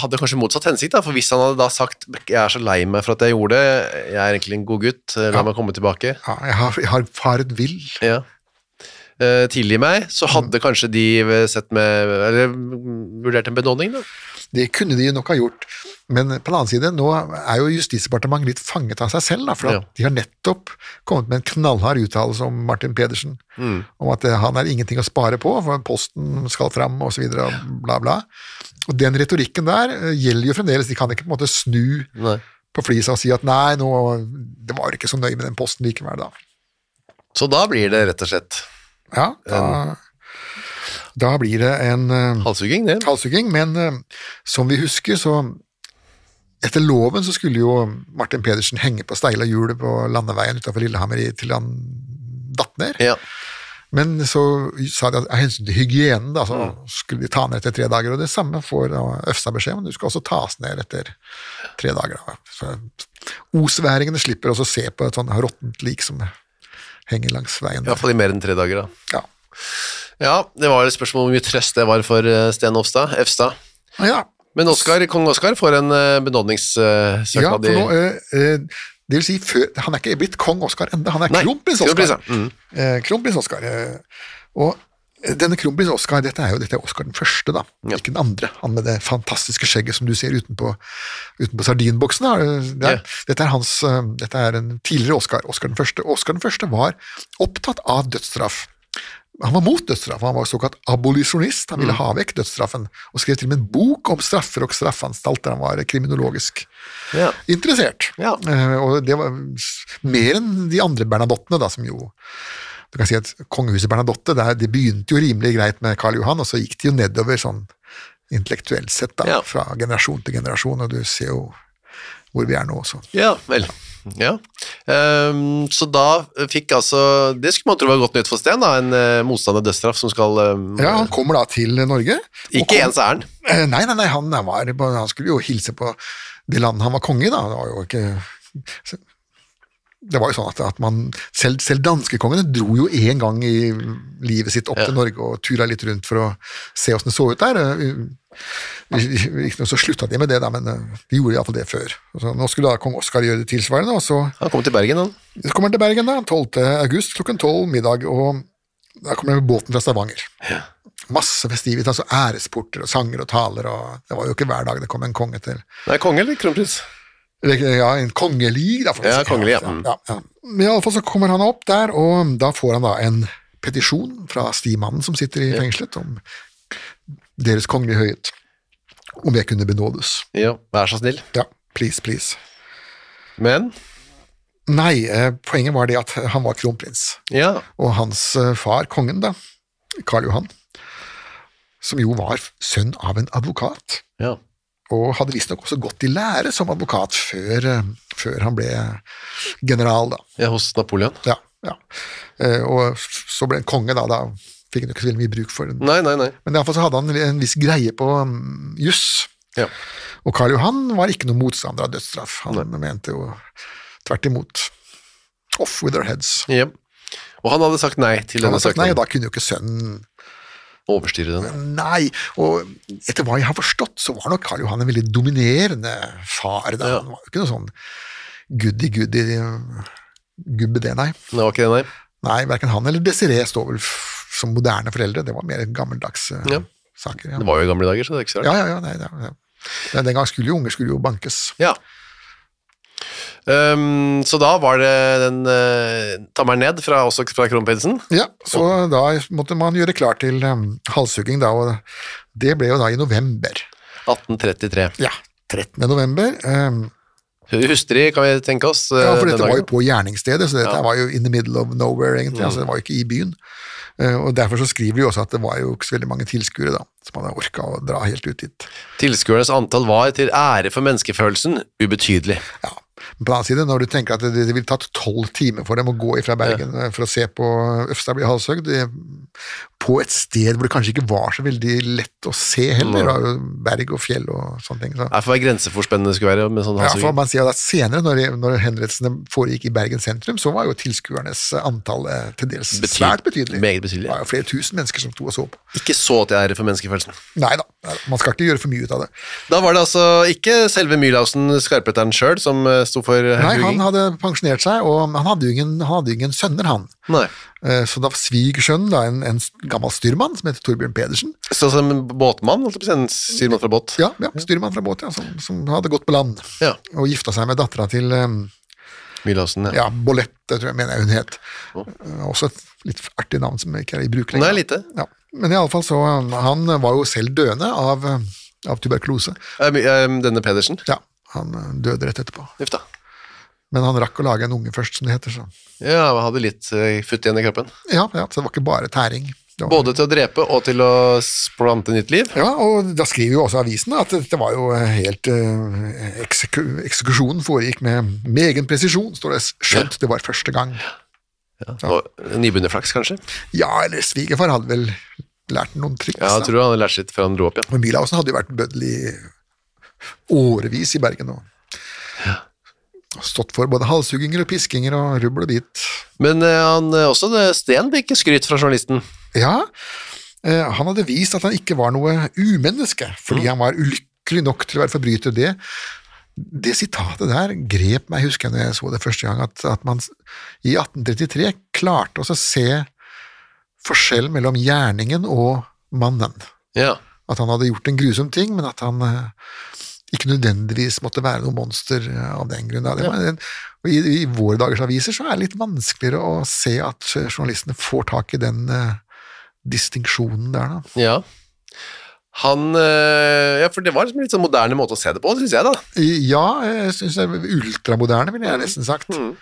Speaker 2: hadde kanskje motsatt hensikt, da, for hvis han hadde da sagt 'jeg er så lei meg for at jeg gjorde det, jeg er egentlig en god gutt, eh, la
Speaker 3: Ja.
Speaker 2: meg komme tilbake',
Speaker 3: Ja, jeg har, jeg har faret vill.
Speaker 2: Ja. Eh, Tidlig i meg,
Speaker 3: Mm.
Speaker 2: så hadde kanskje de sett med Eller mm, vurdert en benådning, da.
Speaker 3: Det kunne de nok ha gjort, men på den annen side, nå er jo Justisdepartementet litt fanget av seg selv, da, for at
Speaker 2: Ja.
Speaker 3: de har nettopp kommet med en knallhard uttalelse om Martin Pedersen, om at eh, han er ingenting å spare på, for posten skal fram, og så videre, og bla, bla. Og den retorikken der eh, gjelder jo fremdeles, de kan ikke på en måte snu
Speaker 2: Nei.
Speaker 3: på flisa og si at nei, nå, det var ikke så nøye med den posten likevel, da.
Speaker 2: Så da blir det rett og slett
Speaker 3: Ja, da, da blir det en eh,
Speaker 2: Halshugging, det.
Speaker 3: halshugging, men eh, som vi husker, så etter loven så skulle jo Martin Pedersen henge på steile hjulet på landeveien utenfor Lillehammer i- til han datt ned.
Speaker 2: Ja.
Speaker 3: Men så sa de at av hensyn til hygienen da, så skulle de ta han ned etter tre dager, og det samme får da Øfsa beskjed om, du skal også tas ned etter tre dager. Da. Så osværingene slipper også å se på et sånn råttent lik som henger langs veien.
Speaker 2: I hvert fall i mer enn tre dager, da.
Speaker 3: Ja.
Speaker 2: Ja, det var et spørsmål om hvor mye trøst det var for eh, Sten Ofstad, Efstad.
Speaker 3: ja.
Speaker 2: Men Oscar, kong Oskar får en eh, benådningssøknad
Speaker 3: ja, for
Speaker 2: i-
Speaker 3: nå, eh, eh, det vil si, før, han er ikke blitt kong Oskar enda, han er
Speaker 2: Nei,
Speaker 3: kronprins
Speaker 2: kronprins,
Speaker 3: Oskar.
Speaker 2: ja. Mm.
Speaker 3: Eh, kronprins Oskar. Eh, og denne kronprins Oskar, dette er jo dette er Oskar den første, da. Ikke den andre. Han med det fantastiske skjegget som du ser utenpå, utenpå sardinboksen. Da. eh, Det er,
Speaker 2: Ja.
Speaker 3: dette, er hans, eh, dette er en tidligere Oskar, Oskar den første. Oskar den første var opptatt av dødsstraff. Han var mot dødsstraff, han var såkalt abolisjonist, han ville
Speaker 2: Mm.
Speaker 3: ha vekk dødsstraffen, og skrev til og med en bok om straffer og straffanstalter, han var kriminologisk
Speaker 2: Ja.
Speaker 3: interessert.
Speaker 2: Ja.
Speaker 3: Eh, og det var s- mer enn de andre Bernadottene, da, som jo Du kan si at kongehuset Bernadotte det, er- det begynte jo rimelig greit med Karl Johan, og så gikk det jo nedover sånn intellektuelt sett, da,
Speaker 2: Ja.
Speaker 3: fra generasjon til generasjon, og du ser jo hvor vi er nå også.
Speaker 2: Ja, vel. Ja. Ehm, så da fikk altså Det skulle man tro var godt nytt for Sten, da. En eh, motstander av dødsstraff som skal ehm,
Speaker 3: Ja, Han kommer da til Norge. og
Speaker 2: Ikke
Speaker 3: kom-
Speaker 2: ens ærend.
Speaker 3: Eh, Nei, nei, nei han, var, han skulle jo hilse på det landet han var konge i, da. Det var jo ikke Det var jo sånn at, at man Selv, selv danskekongene dro jo en gang i livet sitt opp til Norge og tura litt rundt for å se åssen det så ut der. Eh, Riktignok så slutta de med det, da, men eh, de gjorde iallfall det før. Og Så nå skulle da kong Oskar gjøre det tilsvarende, og så
Speaker 2: Han kom til Bergen, han.
Speaker 3: så kommer han til Bergen da, 12. august klokken 12 middag, og da kommer han med båten fra Stavanger. Masse festivitas og æresporter og sanger og taler, og det var jo ikke hver dag det kom en konge til.
Speaker 2: Nei, konge eller kronprins?
Speaker 3: Eller, Ja, en kongelig, da. får vi
Speaker 2: Ja,
Speaker 3: si.
Speaker 2: kongelig, ja.
Speaker 3: ja, ja, ja. Men i alle fall så kommer han opp der, og da får han da en petisjon fra stimannen som sitter i fengselet, om deres kongelige høyhet, om jeg kunne benådes.
Speaker 2: Ja, vær så snill.
Speaker 3: Ja, please, please.
Speaker 2: Men
Speaker 3: Nei, eh, poenget var det at han var kronprins.
Speaker 2: Ja.
Speaker 3: og hans eh, far, kongen da, Karl Johan, som jo var sønn av en advokat,
Speaker 2: ja.
Speaker 3: og hadde visstnok også gått i lære som advokat før, eh, før han ble general, da.
Speaker 2: ja hos Napoleon.
Speaker 3: Ja, ja. Eh, Og så ble han konge, da. Da fikk han jo ikke så veldig mye bruk for den.
Speaker 2: Nei, nei, nei.
Speaker 3: Men iallfall så hadde han en viss greie på mm, juss.
Speaker 2: Ja.
Speaker 3: Og Karl Johan var ikke noen motstander av dødsstraff. Han mente jo tvert imot. Off with their heads.
Speaker 2: ja. Og han hadde sagt nei til
Speaker 3: Han
Speaker 2: denne
Speaker 3: hadde sagt nei, og
Speaker 2: søknaden.
Speaker 3: da kunne jo ikke sønnen
Speaker 2: Overstyre den.
Speaker 3: Nei, og etter hva jeg har forstått, så var nok Karl Johan en veldig dominerende far. Da.
Speaker 2: Ja.
Speaker 3: Han var jo ikke noe sånn goody-goody gubbe, det, nei.
Speaker 2: Det var ikke det, nei.
Speaker 3: Nei, Verken han eller Desiree står vel f- som moderne foreldre, det var mer gammeldagse eh,
Speaker 2: Ja.
Speaker 3: saker. Ja.
Speaker 2: Det var jo i gamle dager, så det er ikke så rart.
Speaker 3: ja, ja, ja, nei, ja, ja. Nei, Den gang skulle jo unger skulle jo bankes.
Speaker 2: Ja. Ehm, så da var det den uh, Tammeren ned fra, også fra kronprinsen.
Speaker 3: Ja, Så da måtte man gjøre klar til um, halshugging, da, og det ble jo da i november.
Speaker 2: 1833.
Speaker 3: Ja, 13. november. Um,
Speaker 2: Hustrig, kan vi tenke oss. eh,
Speaker 3: Ja, for dette
Speaker 2: den
Speaker 3: var jo
Speaker 2: dagen.
Speaker 3: på gjerningsstedet, så dette
Speaker 2: Ja. Mm.
Speaker 3: var jo in the middle of nowhere, egentlig. Altså, det var jo ikke i byen. Eh, Og derfor så skriver de jo også at det var jo ikke så veldig mange tilskuere, da, som hadde orka å dra helt ut dit.
Speaker 2: Tilskuernes antall var til ære for menneskefølelsen ubetydelig.
Speaker 3: Ja. Men på den annen side, når du tenker at det, det ville tatt tolv timer for dem å gå ifra Bergen eh, for å se på Øfstad bli halshøgd, det- på et sted hvor det kanskje ikke var så veldig lett å se heller, det var jo berg og fjell og sånne ting. Så.
Speaker 2: Det er for hva grenseforspennende det skulle være med sånn
Speaker 3: Ja, for
Speaker 2: halshugging.
Speaker 3: man sier jo at Senere, når, når henrettelsene foregikk i Bergen sentrum, så var jo tilskuernes antall eh, til dels
Speaker 2: Betyd-
Speaker 3: svært betydelig.
Speaker 2: meget betydelig.
Speaker 3: Det var jo flere tusen mennesker som sto og så på.
Speaker 2: Ikke så til ære for menneskefølelsen.
Speaker 3: Nei da, nei da, man skal ikke gjøre for mye ut av det.
Speaker 2: Da var det altså ikke selve Mylausen, skarpheteren sjøl, som eh, sto for
Speaker 3: Nei, Han
Speaker 2: hugging.
Speaker 3: hadde pensjonert seg, og han hadde jo ingen, han hadde jo ingen sønner, han.
Speaker 2: Nei.
Speaker 3: Eh, Så da svigersønnen, da, en, en gammel styrmann som heter Torbjørn Pedersen
Speaker 2: Så som en båtmann, holdt jeg på å si, en styrmann fra båt.
Speaker 3: Ja, ja styrmann fra båt, ja, som, som hadde gått på land
Speaker 2: Ja.
Speaker 3: og gifta seg med dattera til eh,
Speaker 2: Mylausen, ja.
Speaker 3: ja, Bolette, tror jeg mener jeg hun het. Eh, Også et litt artig navn som ikke er i bruk lenger.
Speaker 2: Nei, lite.
Speaker 3: Ja. Men iallfall så eh, Han var jo selv døende av, eh, av tuberkulose.
Speaker 2: Eh, My- eh, Denne Pedersen.
Speaker 3: Ja, han eh, døde rett etterpå.
Speaker 2: Uff da.
Speaker 3: Men han rakk å lage en unge først, som det heter. Så.
Speaker 2: Ja, han hadde litt eh, futt igjen i kroppen.
Speaker 3: Ja, ja, så det var ikke bare tæring. Det var-
Speaker 2: Både til å drepe og til å s- plante nytt liv.
Speaker 3: Ja, og da skriver jo også avisen at dette var jo helt eh, ekseku Eksekusjonen foregikk med med egen presisjon, står det. Skjønt det var første gang.
Speaker 2: Og Nybegynnerflaks, kanskje.
Speaker 3: Ja, eller svigerfar hadde vel lært noen triks.
Speaker 2: Ja, jeg
Speaker 3: da.
Speaker 2: tror han hadde lært sitt før han dro opp igjen.
Speaker 3: Men Milhausen hadde jo vært bøddel i årevis i Bergen og stått for både halshugginger og piskinger og rubbel og bit.
Speaker 2: Men eh, han, eh, også det, Sten fikk skryt fra journalisten.
Speaker 3: Ja, eh, han hadde vist at han ikke var noe umenneske, fordi han var ulykkelig nok til å være forbryter. Det, det sitatet der grep meg, husker jeg når jeg så det første gang, at, at man s- i 1833 klarte også å se forskjell mellom gjerningen og mannen.
Speaker 2: Ja.
Speaker 3: At han hadde gjort en grusom ting, men at han eh, ikke nødvendigvis måtte være noe monster eh, av den grunn. da. Det var en- og I, I våre dagers aviser så er det litt vanskeligere å se at eh, journalistene får tak i den eh, distinksjonen der, da.
Speaker 2: ja. Han eh, Ja, for det var liksom litt sånn moderne måte å se det på, syns jeg, da.
Speaker 3: I- Ja, jeg syns det er ultramoderne, ville jeg nesten sagt.
Speaker 2: Men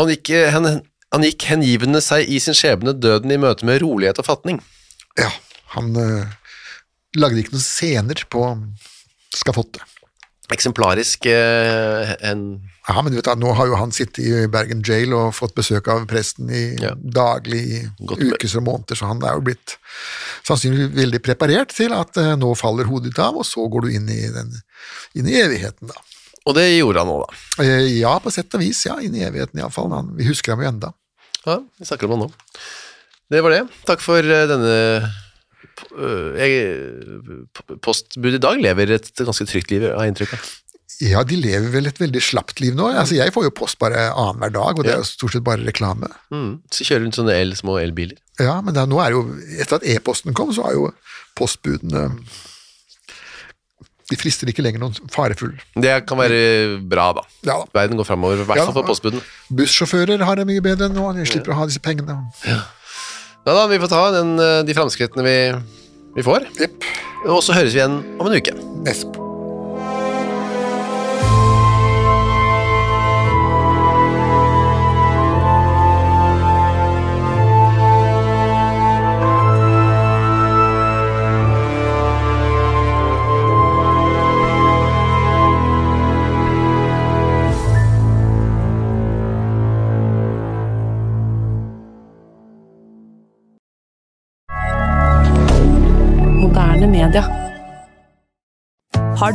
Speaker 2: han gikk, eh, hen, han gikk hengivende seg i sin skjebne døden i møte med rolighet og fatning.
Speaker 3: Ja, han eh, lagde ikke noen scener på eh, skafottet.
Speaker 2: Eksemplarisk eh, en
Speaker 3: Ja, men du vet da, Nå har jo han sittet i Bergen jail og fått besøk av presten i
Speaker 2: Ja.
Speaker 3: daglig i
Speaker 2: Godt med-
Speaker 3: uker og måneder, så han er jo blitt sannsynligvis veldig preparert til at eh, nå faller hodet ditt av, og så går du inn i, den, inn i evigheten, da.
Speaker 2: Og det gjorde han òg, da.
Speaker 3: Eh, Ja, på sett og vis. Ja, inn i evigheten iallfall. Vi husker ham jo enda.
Speaker 2: Ja, vi snakker om han nå. Det var det. Takk for eh, denne eh, jeg, p- Postbud i dag lever et ganske trygt liv, har jeg inntrykk av.
Speaker 3: Ja, de lever vel et veldig slapt liv nå. Altså, Jeg får jo post bare annenhver dag, og det er jo stort sett bare reklame.
Speaker 2: Mm. Så kjører rundt sånne el, små elbiler.
Speaker 3: Ja, men det er, nå er jo, etter at e-posten kom, så er jo postbudene De frister ikke lenger noen farefull.
Speaker 2: Det kan være bra, da.
Speaker 3: Ja da.
Speaker 2: Verden går framover, i hvert
Speaker 3: Ja,
Speaker 2: fall for
Speaker 3: da.
Speaker 2: postbudene.
Speaker 3: Bussjåfører har det mye bedre nå, de slipper å ha disse pengene.
Speaker 2: Ja da, vi får ta den, eh, de framskrittene vi, vi får.
Speaker 3: Jepp.
Speaker 2: Og så høres vi igjen om en uke.
Speaker 3: Esp.
Speaker 4: Moderne media.
Speaker 5: Har